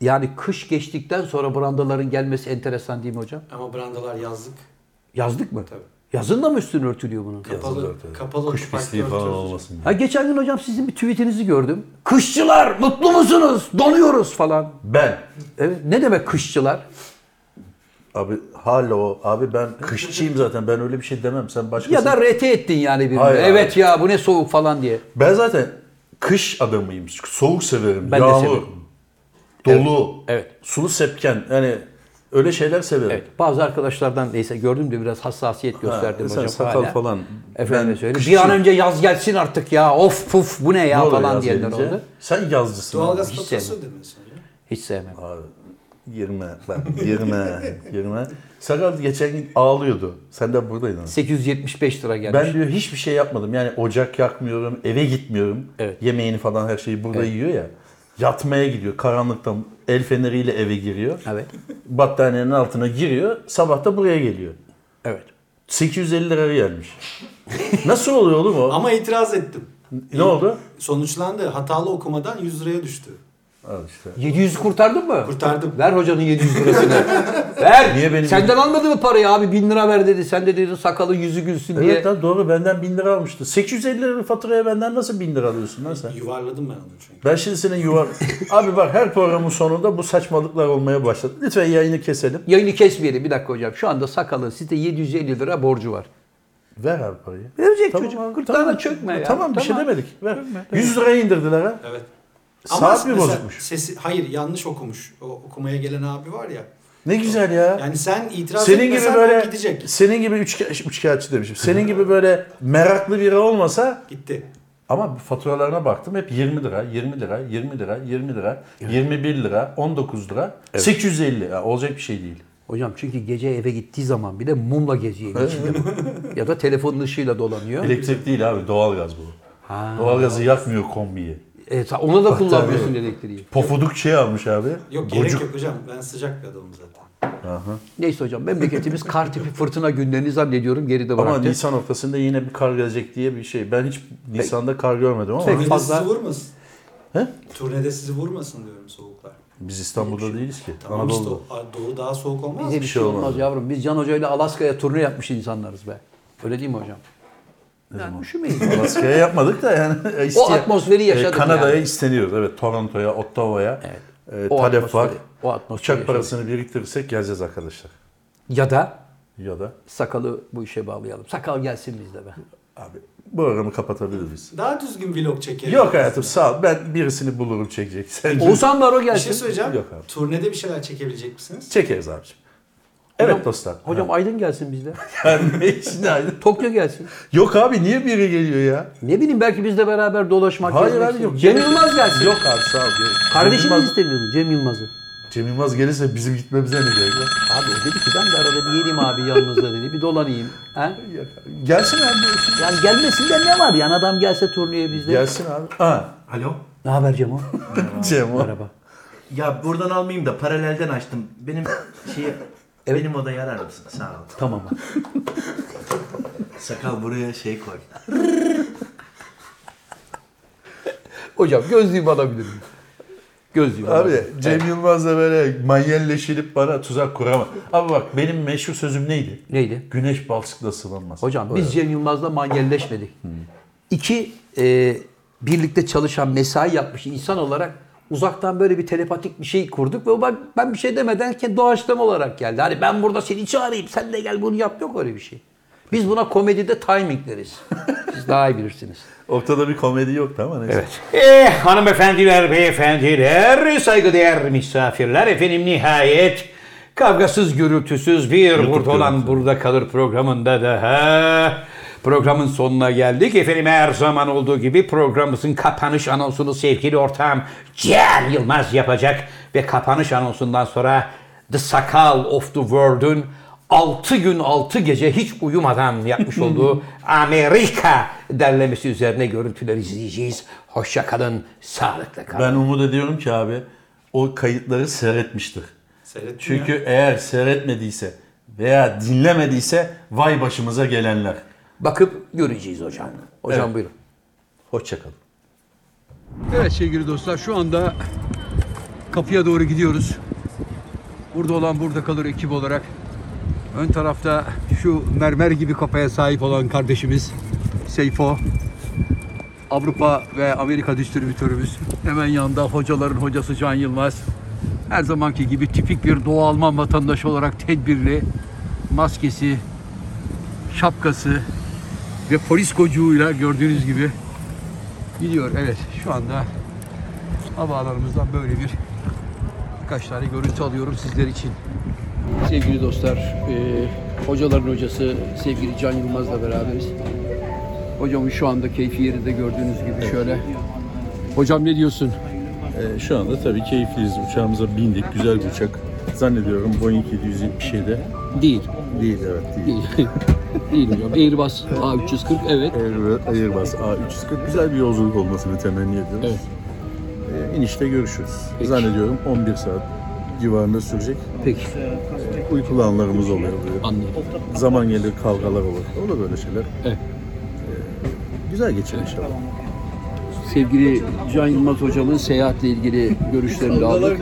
S3: yani kış geçtikten sonra brandaların gelmesi enteresan değil mi hocam?
S4: Ama brandalar yazlık.
S3: Yazdık mı?
S4: Tabii.
S3: Yazın da mı üstüne örtülüyor bunun?
S4: Kapalı,
S2: örtüyoruz.
S4: kapalı
S2: Kış
S4: otoparkta
S2: pisliği falan
S4: örtüyoruz hocam.
S2: olmasın. diye.
S3: Ha geçen gün hocam sizin bir tweetinizi gördüm. Kışçılar mutlu musunuz? Donuyoruz falan.
S2: Ben
S3: Evet. Ne demek kışçılar?
S2: abi hala o abi ben kışçıyım zaten. Ben öyle bir şey demem. Sen başkasın.
S3: Ya da RT ettin yani birini.
S2: Hayır,
S3: evet ya bu ne soğuk falan diye.
S2: Ben zaten kış adamıyım. Soğuk severim.
S3: Ben de
S2: yağmur.
S3: severim.
S2: Dolu.
S3: Evet.
S2: Sulu sepken. Yani öyle şeyler severim.
S3: Evet, bazı arkadaşlardan neyse gördüm de biraz hassasiyet gösterdim
S2: sen
S3: hocam
S2: sakal
S3: hala.
S2: falan.
S3: Efendim
S2: Ben
S3: söyleyeyim. Bir
S2: kışçıyım.
S3: an önce yaz gelsin artık ya. Of puf bu ne
S2: Ne
S3: ya
S2: oluyor
S3: falan
S2: yaz
S3: diyenler
S2: gelince?
S3: oldu.
S2: Sen yazcısın. abi.
S4: Doğalgaz
S3: hiç
S4: faturası ödemiyorsun hocam.
S3: Hiç sevmem.
S2: Abi girme lan girme girme. Sakal geçen gün ağlıyordu. Sen de buradaydın.
S3: 875 lira gelmiş.
S2: Ben diyor hiçbir şey yapmadım. Yani ocak yakmıyorum, eve gitmiyorum.
S3: Evet.
S2: Yemeğini falan her şeyi burada yiyor ya. Yatmaya gidiyor karanlıkta el feneriyle eve giriyor.
S3: Evet.
S2: Battaniyenin altına giriyor. Sabah da buraya geliyor.
S3: Evet.
S2: 850 lira gelmiş. Nasıl oluyor oğlum o?
S4: Ama itiraz ettim.
S2: ne oldu?
S4: Sonuçlandı. Hatalı okumadan 100 liraya düştü.
S2: Al işte.
S3: 700 kurtardın mı?
S4: Kurtardım.
S3: Ver hocanın 700 lirasını. Ver.
S2: Niye benim-
S3: Senden almadı mı parayı abi? 1000 lira ver dedi. Sen de dedin sakalı yüzü gülsün diye.
S2: Evet lan doğru benden 1000 lira almıştı. 850 lira faturaya benden nasıl 1000 lira alıyorsun lan sen?
S4: Yuvarladım ben onu çünkü.
S2: Ben şimdi senin yuvar... Abi bak her programın sonunda bu saçmalıklar olmaya başladı. Lütfen yayını keselim.
S3: Yayını kesmeyelim bir dakika hocam. Şu anda sakalı sizde 750 lira borcu var.
S2: Ver abi parayı.
S3: Verecek çocuk. Gırtlağına
S2: tamam.
S3: çökme ya.
S2: Tamam, bir şey
S3: Tamam.
S2: demedik. Ver. 100 liraya indirdiler ha.
S4: Evet.
S2: Saat mi
S4: mesela
S2: bozukmuş?
S4: Sesi, hayır yanlış okumuş. O okumaya gelen abi var ya.
S2: Ne güzel ya.
S4: Yani sen itiraz
S2: senin
S4: etmesen
S2: gibi böyle
S4: gidecek.
S2: senin gibi üç üçkağıtçı demişim. Senin gibi böyle meraklı biri olmasa
S4: Gitti.
S2: ama faturalarına baktım hep 20 lira, 20 lira, 20 lira, 20 lira, 21 lira, 19 lira, 850. Ya, olacak bir şey değil.
S3: Hocam çünkü gece eve gittiği zaman bir de mumla geziyor içinde. ya da telefonun ışığıyla dolanıyor.
S2: Elektrik değil abi doğalgaz bu.
S3: Ha.
S2: Doğalgazı yakmıyor kombiyi.
S3: E, ta- ona da kullanmıyorsun elektriği.
S2: Pofuduk şey almış abi.
S4: Yok gerek
S2: Gocuk.
S4: yok hocam. Ben sıcak bir adamım zaten.
S3: Neyse hocam memleketimiz kar tipi fırtına günlerini zannediyorum geride
S2: Ama
S3: bıraktı.
S2: Nisan ortasında yine bir kar gelecek diye bir şey. Ben hiç Nisan'da kar görmedim ama
S3: Peki.
S4: Turnede
S3: fazla-
S4: sizi vurmasın.
S2: He?
S4: Turnede sizi vurmasın diyorum soğuklar.
S2: biz İstanbul'da değiliz ki.
S4: Tamam işte
S2: Anadolu'da.
S4: o- doğu daha soğuk olmaz.
S3: Bize bir
S2: şey
S3: şey olmaz
S2: olmaz.
S3: yavrum. Biz Can Hoca ile Alaska'ya turne yapmış insanlarız be. Öyle değil mi hocam? Yani üşümeyin.
S2: Alaska'ya yapmadık da yani.
S3: O atmosferi yaşadık
S2: E, Kanada'ya
S3: yani.
S2: isteniyoruz. Evet Toronto'ya, Ottawa'ya. E,
S3: O
S2: talep var.
S3: atmosferi- o atmosferi
S2: Uçak
S3: yaşadık.
S2: parasını biriktirirsek geleceğiz arkadaşlar.
S3: Ya da
S2: Ya da
S3: sakalı bu işe bağlayalım. Sakal gelsin bizde be.
S2: abi bu programı kapatabiliriz.
S4: Daha düzgün vlog çekelim.
S2: şey- Yok hayatım sağ ol. Ben birisini bulurum çekecek. Sen
S3: Oğuzhan var o
S4: Bir
S3: gelsin.
S4: şey söyleyeceğim.
S2: Yok abi.
S4: Turnede bir şeyler çekebilecek misiniz?
S2: çekeriz abiciğim. Evet
S3: Hocam-
S2: dostlar.
S3: Hocam Aydın gelsin bizde.
S2: Yani ne işin aydın?
S3: Tokyo gelsin.
S2: Yok abi niye biri geliyor ya?
S3: Ne bileyim belki bizle beraber dolaşmak.
S2: Hayır
S3: gezmek
S2: abi
S3: istedim.
S2: yok.
S3: Cem Yılmaz gelsin.
S2: Yok abi sağ ol. Yok.
S3: Kardeşimi
S2: Cem Yılmaz-
S3: istemiyordum Cem Yılmaz'ı.
S2: Cem Yılmaz gelirse bizim gitmemize ne gerek var?
S3: Abi o dedi ki ben de arada bir geleyim abi yanınızda dedi. Bir dolanayım. He?
S2: Yok abi. Gelsin abi. gelsin.
S3: Yani gelmesinde ne var yani adam gelse turneye bizde.
S2: Gelsin abi. Ha.
S5: Alo?
S3: Ne haber Cemo?
S2: Cem o.
S3: Merhaba.
S5: Ya buradan almayayım da paralelden açtım. Benim şeyi... Benim odayı arar mısın? Sağ ol.
S3: Tamam. abi.
S5: Sakal buraya şey koy.
S3: Hocam gözlüğümü alabilir miyim? Gözlüğümü
S2: Abi
S3: alabilirim.
S2: Cem Yılmaz'la böyle manyelleşilip bana tuzak kuramaz. Abi bak benim meşhur sözüm neydi?
S3: Neydi?
S2: Güneş balçıkla sıvılmaz.
S3: Hocam biz Cem Yılmaz'la manyelleşmedik. İki e, birlikte çalışan, mesai yapmış insan olarak uzaktan böyle bir telepatik bir şey kurduk ve bak ben bir şey demeden ki doğaçlama olarak geldi. Hani ben burada seni çağırayım, sen de gel bunu yap. Yok öyle bir şey. Biz buna komedide timing deriz. Siz daha iyi bilirsiniz.
S2: Ortada bir komedi yoktu ama neyse. Evet.
S1: Eh hanımefendiler, beyefendiler, saygıdeğer misafirler efendim nihayet kavgasız gürültüsüz bir burada olan burada kalır programında daha programın sonuna geldik. Efendim her zaman olduğu gibi programımızın kapanış anonsunu sevgili ortağım Cem Yılmaz yapacak ve kapanış anonsundan sonra The Sakal of the World'un 6 gün 6 gece hiç uyumadan yapmış olduğu Amerika derlemesi üzerine görüntüler izleyeceğiz. Hoşça kalın, sağlıkla kalın.
S2: Ben umut ediyorum ki abi o kayıtları seyretmiştir.
S4: Seyrettim
S2: Çünkü eğer seyretmediyse veya dinlemediyse vay başımıza gelenler.
S3: Bakıp göreceğiz hocam. Hocam
S2: Evet.
S3: buyurun.
S2: Hoşçakalın.
S3: Evet sevgili dostlar şu anda kapıya doğru gidiyoruz. Burada olan burada kalır ekip olarak. Ön tarafta şu mermer gibi kafaya sahip olan kardeşimiz Seyfo. Avrupa ve Amerika distribütörümüz. Hemen yanında hocaların hocası Can Yılmaz. Her zamanki gibi tipik bir Doğu Alman vatandaşı olarak tedbirli. Maskesi, şapkası ve polis kocuğuyla gördüğünüz gibi gidiyor. Evet şu anda havaalanımızdan böyle bir birkaç tane görüntü alıyorum sizler için. Sevgili dostlar, e, hocaların hocası sevgili Can Yılmaz'la beraberiz. Hocamın şu anda keyfi yerinde gördüğünüz gibi şöyle. Hocam ne diyorsun?
S2: Ee, şu anda tabii keyifliyiz. Uçağımıza bindik. Güzel bir uçak. Zannediyorum Boeing 777
S3: Değil.
S2: değil evet değil.
S3: Değil. Değil hocam. Airbus A340 evet.
S2: Air- Airbus A340 güzel bir yolculuk olmasını temenni ediyoruz.
S3: Evet.
S2: Ee, inişte görüşürüz. Zannediyorum 11 saat civarında sürecek.
S3: Peki
S2: Uykulu anlarımız oluyor. böyle.
S3: anladım.
S2: Zaman gelir kavgalar olur. Olur böyle şeyler.
S3: Evet.
S2: Ee, güzel geçer inşallah.
S3: Sevgili Can Yılmaz hocamın seyahatle ilgili görüşlerini de aldık.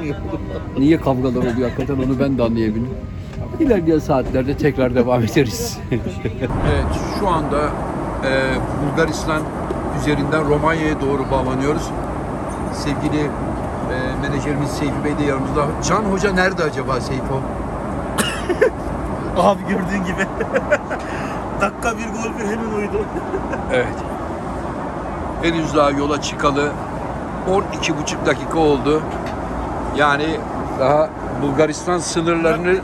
S3: Niye kavgalar oluyor hakikaten onu ben de anlayabilirim. İlerleyen saatlerde tekrar devam ederiz. evet şu anda e, Bulgaristan üzerinden Romanya'ya doğru bağlanıyoruz. Sevgili e, menajerimiz Seyfi Bey de yanımızda. Can Hoca nerede acaba Seyfo?
S5: Abi gördüğün gibi. Dakika bir gol bir hemen uydu.
S3: Evet. Henüz daha yola çıkalı 12,5 dakika oldu. Yani daha Bulgaristan sınırlarını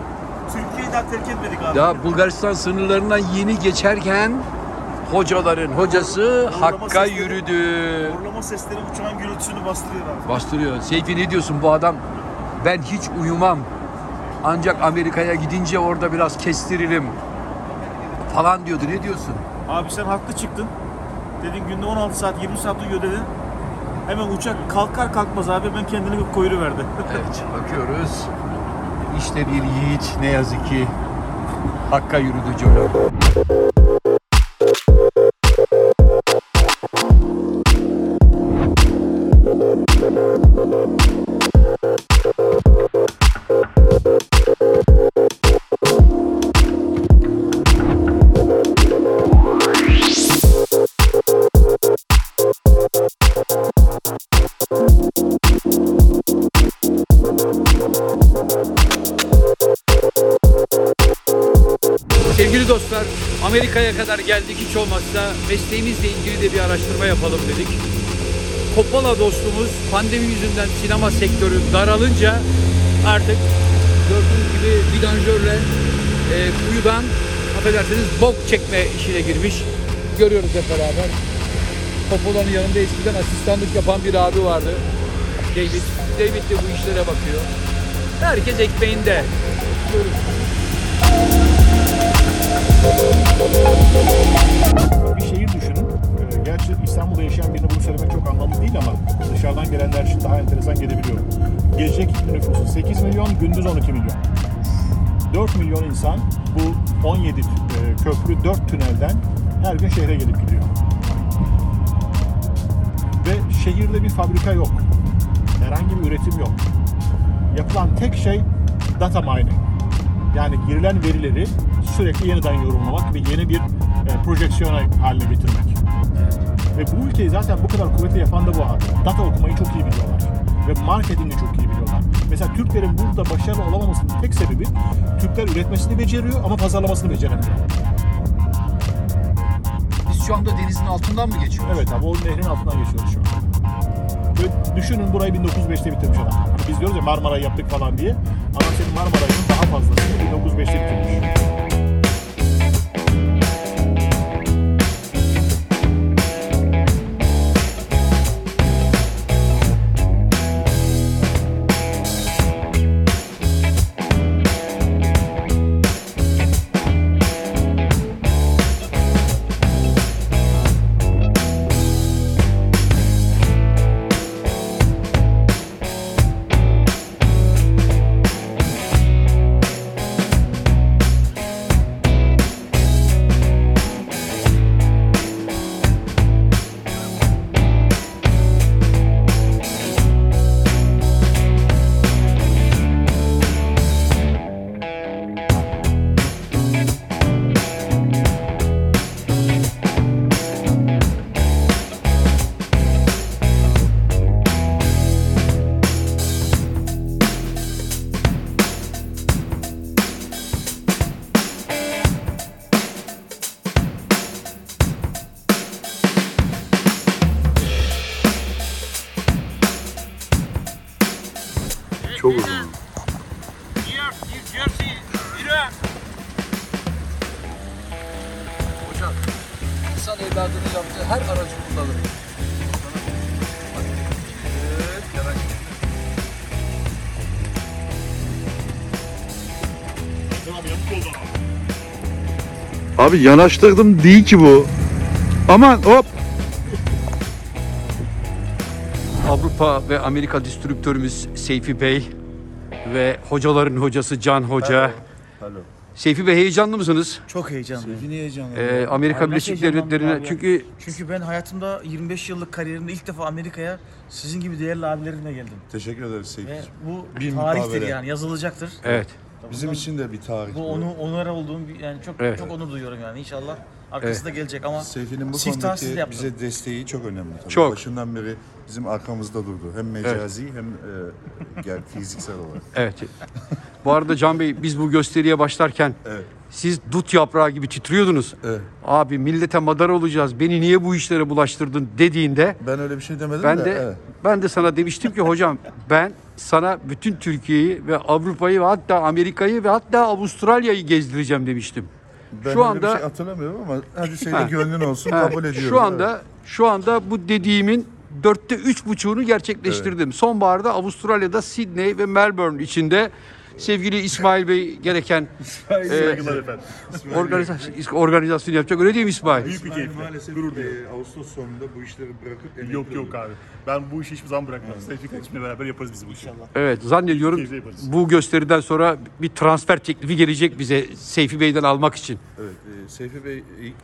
S5: Türkiye'yi daha terk etmedik abi.
S3: daha Bulgaristan sınırlarından yeni geçerken hocaların hocası Hakk'a yürüdü.
S5: Horlama sesleri uçağın gürültüsünü bastırıyor abi.
S3: Bastırıyor. Seyfi ne diyorsun bu adam? Ben hiç uyumam. Ancak Amerika'ya gidince orada biraz kestiririm. Falan diyordu. Ne diyorsun?
S6: Abi sen haklı çıktın. Dedin günde 16 saat 20 saat uyuyor dedin. Hemen uçak kalkar kalkmaz abi hemen kendini bir koyuru verdi.
S3: Evet bakıyoruz. İşte bir yiğit ne yazık ki Hakk'a yürüdü Colo. Sevgili dostlar, Amerika'ya kadar geldik hiç olmazsa mesleğimizle ilgili de bir araştırma yapalım dedik. Coppola dostumuz pandemi yüzünden sinema sektörü daralınca artık gördüğünüz gibi vidanjörle e, kuyudan affedersiniz bok çekme işine girmiş. Görüyoruz hep beraber. Coppola'nın yanında eskiden asistanlık yapan bir abi vardı. David. David de bu işlere bakıyor. Herkes ekmeğinde. Görüyoruz.
S7: bir şehir düşünün. Ee, Gerçi İstanbul'da yaşayan birine bunu söylemek çok anlamlı değil ama dışarıdan gelenler için daha enteresan gelebiliyor. Gece kitle nüfusu 8 milyon, gündüz 12 milyon. 4 milyon insan bu 17 e, köprü 4 tünelden her gün şehre gelip gidiyor. Ve şehirde bir fabrika yok. Herhangi bir üretim yok. Yapılan tek şey data mining. Yani girilen verileri sürekli yeniden yorumlamak ve yeni bir e, projeksiyona haline getirmek. Ve bu ülkeyi zaten bu kadar kuvvetli yapan da bu abi. Data okumayı çok iyi biliyorlar. Ve marketingi çok iyi biliyorlar. Mesela Türklerin burada başarılı olamamasının tek sebebi Türkler üretmesini beceriyor ama pazarlamasını beceremiyor.
S3: Biz şu anda denizin altından mı geçiyoruz?
S7: Evet abi o nehrin altından geçiyoruz şu an. Ve düşünün burayı 1905'te bitirmiş adam. Hani biz diyoruz ya Marmara'yı yaptık falan diye. Ama senin Marmara'nın daha fazlasını 1905'te bitirmiş.
S8: Anadolu yaptığı her aracı kullanır.
S9: Abi yanaştırdım değil ki bu. Aman hop.
S8: Avrupa ve Amerika distribütörümüz Seyfi Bey ve hocaların hocası Can Hoca. Seyfi Bey heyecanlı mısınız?
S6: Çok heyecanlıyım.
S2: Niye heyecanlı?
S8: Ee, Amerika
S6: Ay, ben
S8: Birleşik
S6: heyecanlandım
S8: Devletleri'ne
S6: abi ya.
S8: çünkü
S6: Çünkü ben hayatımda 25 yıllık kariyerimde ilk defa Amerika'ya sizin gibi değerli abilerimle geldim.
S2: Teşekkür ederiz Seyfi.
S6: Ve bu
S2: Bir
S6: tarihtir
S2: mukabele.
S6: yani yazılacaktır.
S8: evet
S2: Bizim için de bir tarih.
S6: Bu onu onur olduğum bir yani çok
S8: Evet.
S6: çok onur duyuyorum yani inşallah arkası da gelecek ama
S2: Seyfi'nin bu
S6: siftah siz
S2: konudaki
S6: yaptın.
S2: bize desteği çok önemli. Tabii.
S8: Çok.
S2: Başından beri bizim arkamızda durdu. Hem mecazi hem e, gel fiziksel olarak.
S8: evet. Bu arada Can Bey biz bu gösteriye başlarken
S2: Evet.
S8: siz dut yaprağı gibi titriyordunuz.
S2: Evet.
S8: Abi millete madar olacağız. Beni niye bu işlere bulaştırdın dediğinde
S2: Ben öyle bir şey demedim
S8: ben
S2: de.
S8: de
S2: evet.
S8: ben de sana demiştim ki hocam ben sana bütün Türkiye'yi ve Avrupa'yı ve hatta Amerika'yı ve hatta Avustralya'yı gezdireceğim demiştim.
S2: Ben
S8: şu
S2: öyle
S8: anda
S2: bir şey hatırlamıyorum ama hadi söyle gönlün olsun
S8: Ha,
S2: kabul ediyorum.
S8: Şu anda şu anda bu dediğimin dörtte üç buçuğunu gerçekleştirdim. Sonbaharda Avustralya'da Sydney ve Melbourne içinde sevgili İsmail Bey gereken
S2: evet.
S8: Saygılar organizasyon, organizasyon yapacak. Öyle değil mi İsmail?
S2: Büyük bir keyif. Maalesef e, Ağustos sonunda bu işleri bırakıp emekli
S7: Yok
S2: oluyor.
S7: yok abi. Ben bu işi hiçbir zaman bırakmam. Seyfi kardeşimle beraber yaparız biz bu işi. İnşallah.
S8: Evet zannediyorum
S7: Keyifle yaparız.
S8: bu gösteriden sonra bir transfer teklifi gelecek bize Seyfi Bey'den almak için.
S2: Evet, e, Seyfi Bey ilk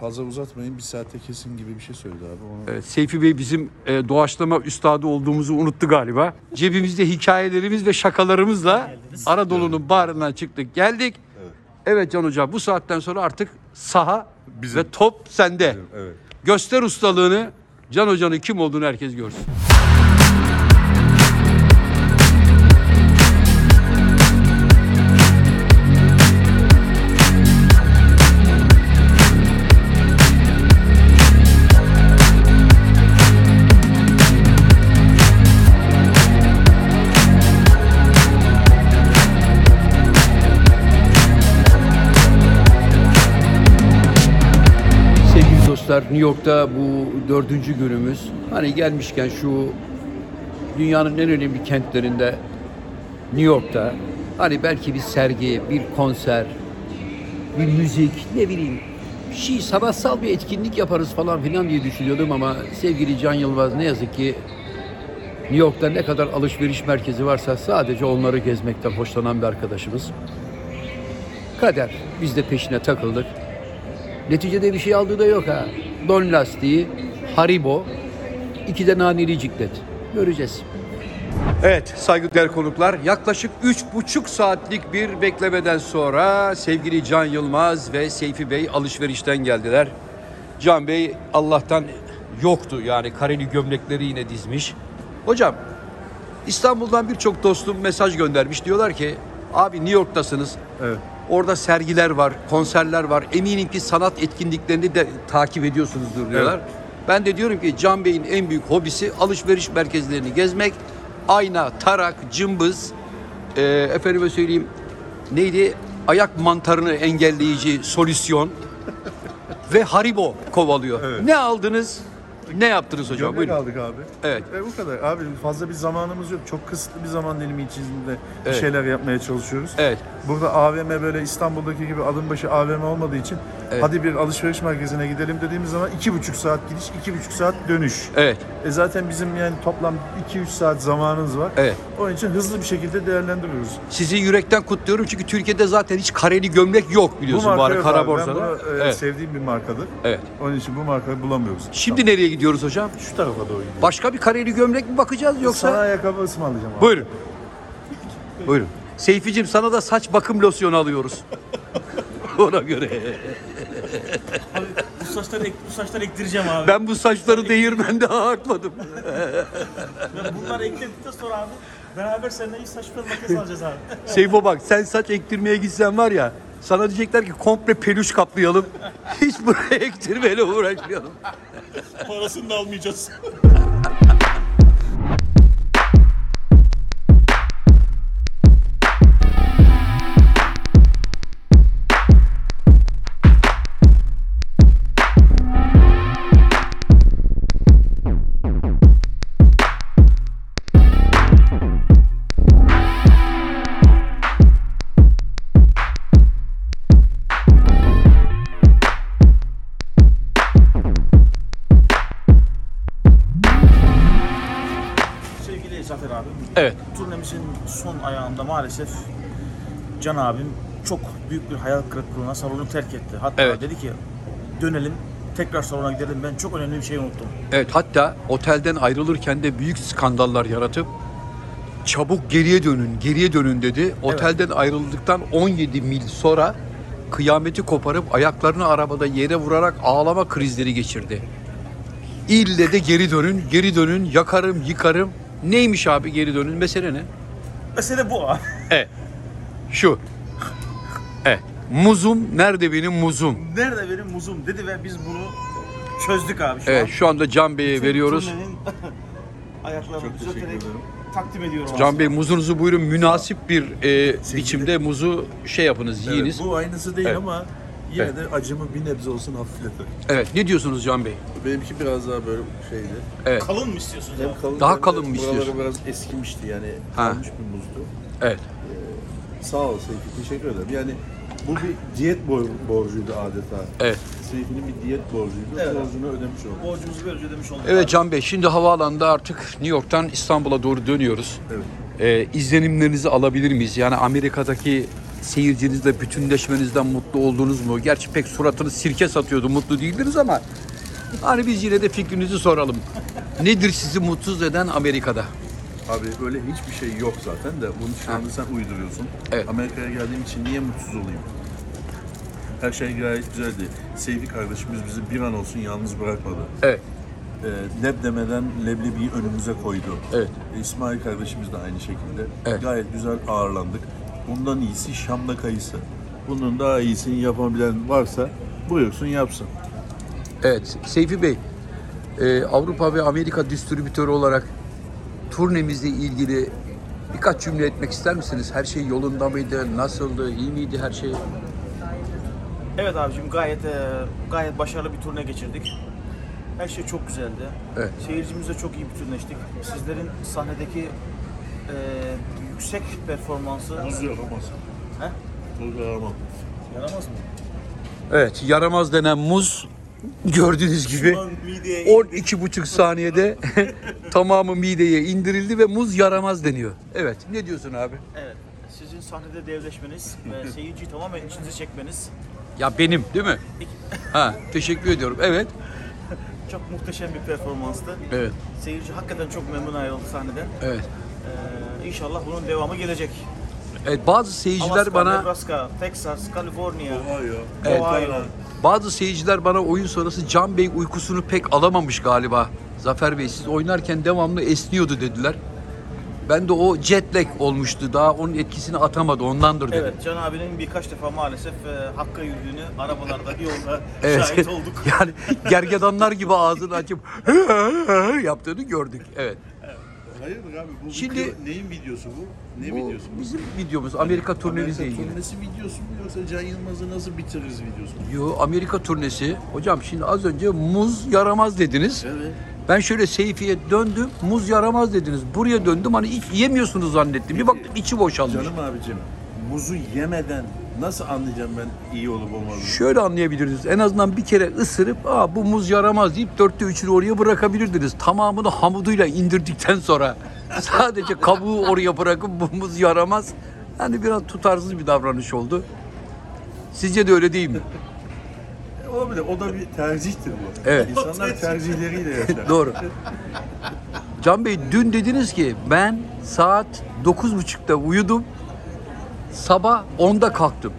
S2: fazla uzatmayın bir saate kesin gibi bir şey söyledi abi. Onu
S8: Evet, Ee, Seyfi Bey bizim e, doğaçlama üstadı olduğumuzu unuttu galiba. Cebimizde hikayelerimiz ve şakalarımızla Anadolu'nun bağrından çıktık geldik. Evet. Can Hocam bu saatten sonra artık saha ve top sende.
S2: evet.
S8: Göster ustalığını, Can Hoca'nın kim olduğunu herkes görsün. Sevgili dostlar, New York'ta bu dördüncü günümüz. Hani gelmişken şu dünyanın en önemli kentlerinde New York'ta hani belki bir sergi, bir konser, bir müzik, ne bileyim bir şey sanatsal bir etkinlik yaparız falan filan diye düşünüyordum ama sevgili Can Yılmaz ne yazık ki New York'ta ne kadar alışveriş merkezi varsa sadece onları gezmekten hoşlanan bir arkadaşımız. Kader biz de peşine takıldık. Neticede bir şey aldığı da yok ha. Don lastiği, Haribo, iki de naneli ciklet. Göreceğiz. Evet saygıdeğer konuklar yaklaşık üç buçuk saatlik bir beklemeden sonra sevgili Can Yılmaz ve Seyfi Bey alışverişten geldiler. Can Bey Allah'tan yoktu yani kareli gömlekleri yine dizmiş. Hocam İstanbul'dan birçok dostum mesaj göndermiş. Diyorlar ki abi New York'tasınız. Orada sergiler var, konserler var. Eminim ki sanat etkinliklerini de takip ediyorsunuzdur diyorlar. Ben de diyorum ki Can Bey'in en büyük hobisi alışveriş merkezlerini gezmek. Ayna, tarak, cımbız, e, efendime söyleyeyim neydi? Ayak mantarını engelleyici solüsyon ve Haribo kovalıyor. Ne aldınız? Ne yaptınız hocam?
S2: Gömlek
S8: Buyurun.
S2: aldık abi.
S8: Evet.
S2: Ve bu kadar. Abi fazla bir zamanımız yok. Çok kısıtlı bir zaman dilimi içinde bir
S8: Evet.
S2: şeyler yapmaya çalışıyoruz.
S8: Evet.
S2: Burada AVM böyle İstanbul'daki gibi adım başı AVM olmadığı için hadi bir alışveriş merkezine gidelim dediğimiz zaman iki buçuk saat gidiş, iki buçuk saat dönüş.
S8: Evet.
S2: E zaten bizim yani toplam 2-3 saat zamanımız var.
S8: Evet.
S2: Onun için hızlı bir şekilde değerlendiriyoruz.
S8: Sizi yürekten kutluyorum çünkü Türkiye'de zaten hiç kareli gömlek yok biliyorsun bu,
S2: marka
S8: ara
S2: yok
S8: kara
S2: abi. Ben
S8: borsada.
S2: bunu, e,
S8: evet.
S2: sevdiğim bir markadır.
S8: evet.
S2: Onun için bu markayı bulamıyoruz.
S8: Şimdi nereye gidiyoruz hocam?
S2: Tamam. şu tarafa doğru gidiyoruz.
S8: Başka bir kareli gömlek mi bakacağız yoksa?
S2: Sana ayakkabı ısmarlayacağım abi.
S8: Buyurun. Buyurun. Seyficim sana da saç bakım losyonu alıyoruz. Ona göre.
S6: bu saçları ek- bu saçları ektireceğim abi.
S8: Ben bu saçları değirmende ağartmadım.
S10: Bunları ekledikten sonra abi beraber seninle ilk saç makinesi alacağız abi.
S8: Seyfo bak sen saç ektirmeye gitsen var ya sana diyecekler ki komple peluş kaplayalım. Hiç buraya ektirmeyle uğraşmayalım.
S10: Parasını da almayacağız.
S6: Zafer abi.
S3: Evet.
S6: Turnemizin son ayağında maalesef Can abim çok büyük bir hayal kırıklığına salonu terk etti. Hatta
S3: Evet.
S6: dedi ki dönelim tekrar salona gidelim ben çok önemli bir şey unuttum.
S3: Evet hatta otelden ayrılırken de büyük skandallar yaratıp çabuk geriye dönün, geriye dönün dedi. Otelden ayrıldıktan 17 mil sonra kıyameti koparıp ayaklarını arabada yere vurarak ağlama krizleri geçirdi. İlle de geri dönün, geri dönün, yakarım, yıkarım. Neymiş abi geri dönün? Mesele ne?
S6: Mesele bu abi.
S3: Evet. Şu. Evet. Muzum nerede benim muzum?
S6: Nerede benim muzum dedi ve biz bunu çözdük abi şu
S3: Evet
S6: an.
S3: şu anda Can Bey'e
S6: Tüm
S3: veriyoruz.
S6: turnenin Ayaklarını düzelterek takdim ediyorum
S3: Can Bey muzunuzu buyurun münasip bir e, biçimde muzu şey yapınız yiyiniz.
S2: bu aynısı değil
S3: Evet.
S2: ama yine
S3: Evet.
S2: de acımı bir nebze olsun hafifletir.
S3: Evet ne diyorsunuz Can Bey?
S2: Benimki biraz daha böyle şeydi.
S3: Evet.
S6: Kalın mı istiyorsunuz
S2: Hem
S6: abi?
S2: kalın
S3: Daha
S2: hem de
S3: kalın mı
S2: buraları
S3: istiyorsun?
S2: biraz eskimişti yani
S3: Ha.
S2: kalmış bir muzdu.
S3: Evet.
S2: Ee, sağ ol Seyfi teşekkür ederim. Yani bu bir diyet bor- borcuydu adeta.
S3: Evet.
S2: Seyfi'nin bir diyet borcuydu.
S6: Evet.
S2: Borcunu ödemiş oldu.
S6: Borcumuzu böyle ödemiş olduk.
S3: Evet Can Bey şimdi havaalanında artık New York'tan İstanbul'a doğru dönüyoruz.
S2: Evet.
S3: E, izlenimlerinizi alabilir miyiz? Yani Amerika'daki seyircinizle bütünleşmenizden mutlu oldunuz mu? Gerçi pek suratını sirke satıyordu mutlu değildiniz ama hani biz yine de fikrinizi soralım. Nedir sizi mutsuz eden Amerika'da?
S2: Abi öyle hiçbir şey yok zaten de bunu şu anda sen uyduruyorsun. Amerika'ya geldiğim için niye mutsuz olayım? Her şey gayet güzeldi. Sevgi kardeşimiz bizi bir an olsun yalnız bırakmadı.
S3: Evet.
S2: Ee, leb demeden leblebiyi önümüze koydu. Ee,
S3: Evet.
S2: İsmail kardeşimiz de aynı şekilde. Gayet güzel ağırlandık. Bundan iyisi Şam'da kayısı. Bunun daha iyisini yapabilen varsa buyursun yapsın.
S3: Evet, Seyfi Bey, e, Avrupa ve Amerika distribütörü olarak turnemizle ilgili birkaç cümle etmek ister misiniz? Her şey yolunda mıydı? Nasıldı? İyi miydi her şey?
S6: Evet abicim gayet e, gayet başarılı bir turne geçirdik. Her şey çok güzeldi.
S3: Evet.
S6: Seyircimizle çok iyi bütünleştik. Sizlerin sahnedeki e, yüksek performansı...
S2: Buz yaramaz.
S6: He?
S2: Buz yaramaz.
S6: Yaramaz mı?
S3: Evet, yaramaz denen muz gördüğünüz gibi 12,5 saniyede tamamı mideye indirildi ve muz yaramaz deniyor. Evet, ne diyorsun abi?
S6: Evet. Sizin sahnede devleşmeniz ve seyirciyi tamamen içinize çekmeniz
S3: Ya benim değil mi? Ha, teşekkür ediyorum. Evet.
S6: çok muhteşem bir performanstı.
S3: Evet.
S6: Seyirci hakikaten çok memnun ayrıldı sahneden.
S3: Evet.
S6: inşallah bunun devamı gelecek.
S3: Evet, bazı seyirciler
S6: Alaska,
S3: bana
S6: Nebraska, Texas, California, Ohio,
S3: Evet. Bazı seyirciler bana oyun sonrası Can Bey uykusunu pek alamamış galiba. Zafer Bey siz oynarken devamlı esniyordu dediler. Ben de o jet lag olmuştu. Daha onun etkisini atamadı. Ondandır dedim.
S6: Evet, Can abinin birkaç defa maalesef e, Hakk'a yürüdüğünü arabalarda, yolda
S3: Evet.
S6: şahit olduk.
S3: yani gergedanlar gibi ağzını açıp yaptığını gördük. Evet.
S2: Hayırdır abi bu
S3: Şimdi-
S2: video- neyin videosu bu? Ne
S3: Bu
S2: videosu bu? Hani
S3: bizim videomuz, Amerika turnemizle
S2: Amerika
S3: ilgili.
S2: turnesi videosu mu yoksa Can Yılmaz'ı nasıl bitiririz videosu mu?
S3: Yo Amerika turnesi. Hocam şimdi az önce muz yaramaz dediniz. Ben şöyle Seyfi'ye döndüm. Muz yaramaz dediniz. Buraya döndüm hani hiç yemiyorsunuz zannettim. Bir baktım içi boşalmış.
S2: Canım abicim muzu yemeden nasıl anlayacağım ben iyi olup olmadığını?
S3: Şöyle anlayabilirdiniz. En azından bir kere ısırıp Aa, bu muz yaramaz deyip dörtte üçünü oraya bırakabilirdiniz. Tamamını hamuduyla indirdikten sonra sadece kabuğu oraya bırakıp bu muz yaramaz. Yani biraz tutarsız bir davranış oldu. Sizce de öyle değil mi?
S2: E, olabilir o da bir tercihtir bu.
S3: Evet.
S2: İnsanlar tercihleriyle yaşar.
S3: Doğru. Can Bey dün dediniz ki ben saat 9.30'da uyudum. Sabah 10'da kalktım.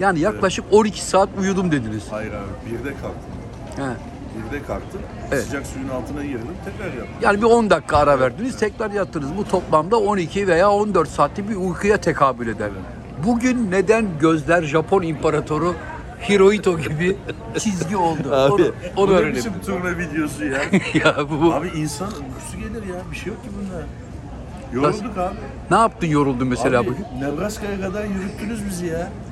S3: Yani yaklaşık 12 saat uyudum dediniz.
S2: Hayır abi birde kalktım.
S3: He.
S2: Birde kalktım.
S3: Evet.
S2: Sıcak suyun altına girdim tekrar yaptım.
S3: Yani bir 10 dakika ara verdiniz, tekrar yattınız. Bu toplamda 12 veya 14 saatlik bir uykuya tekabül eder. Bugün neden gözler Japon imparatoru Hirohito gibi çizgi oldu? onu onu
S2: bu ne
S3: öğrenelim.
S2: biçim turne videosu ya.
S3: ya bu,
S2: Abi insan uykusu gelir ya bir şey yok ki bunda. Yorulduk abi.
S3: Ne yaptın yoruldun mesela
S2: abi,
S3: bugün?
S2: Nebraska'ya kadar yürüttünüz bizi ya.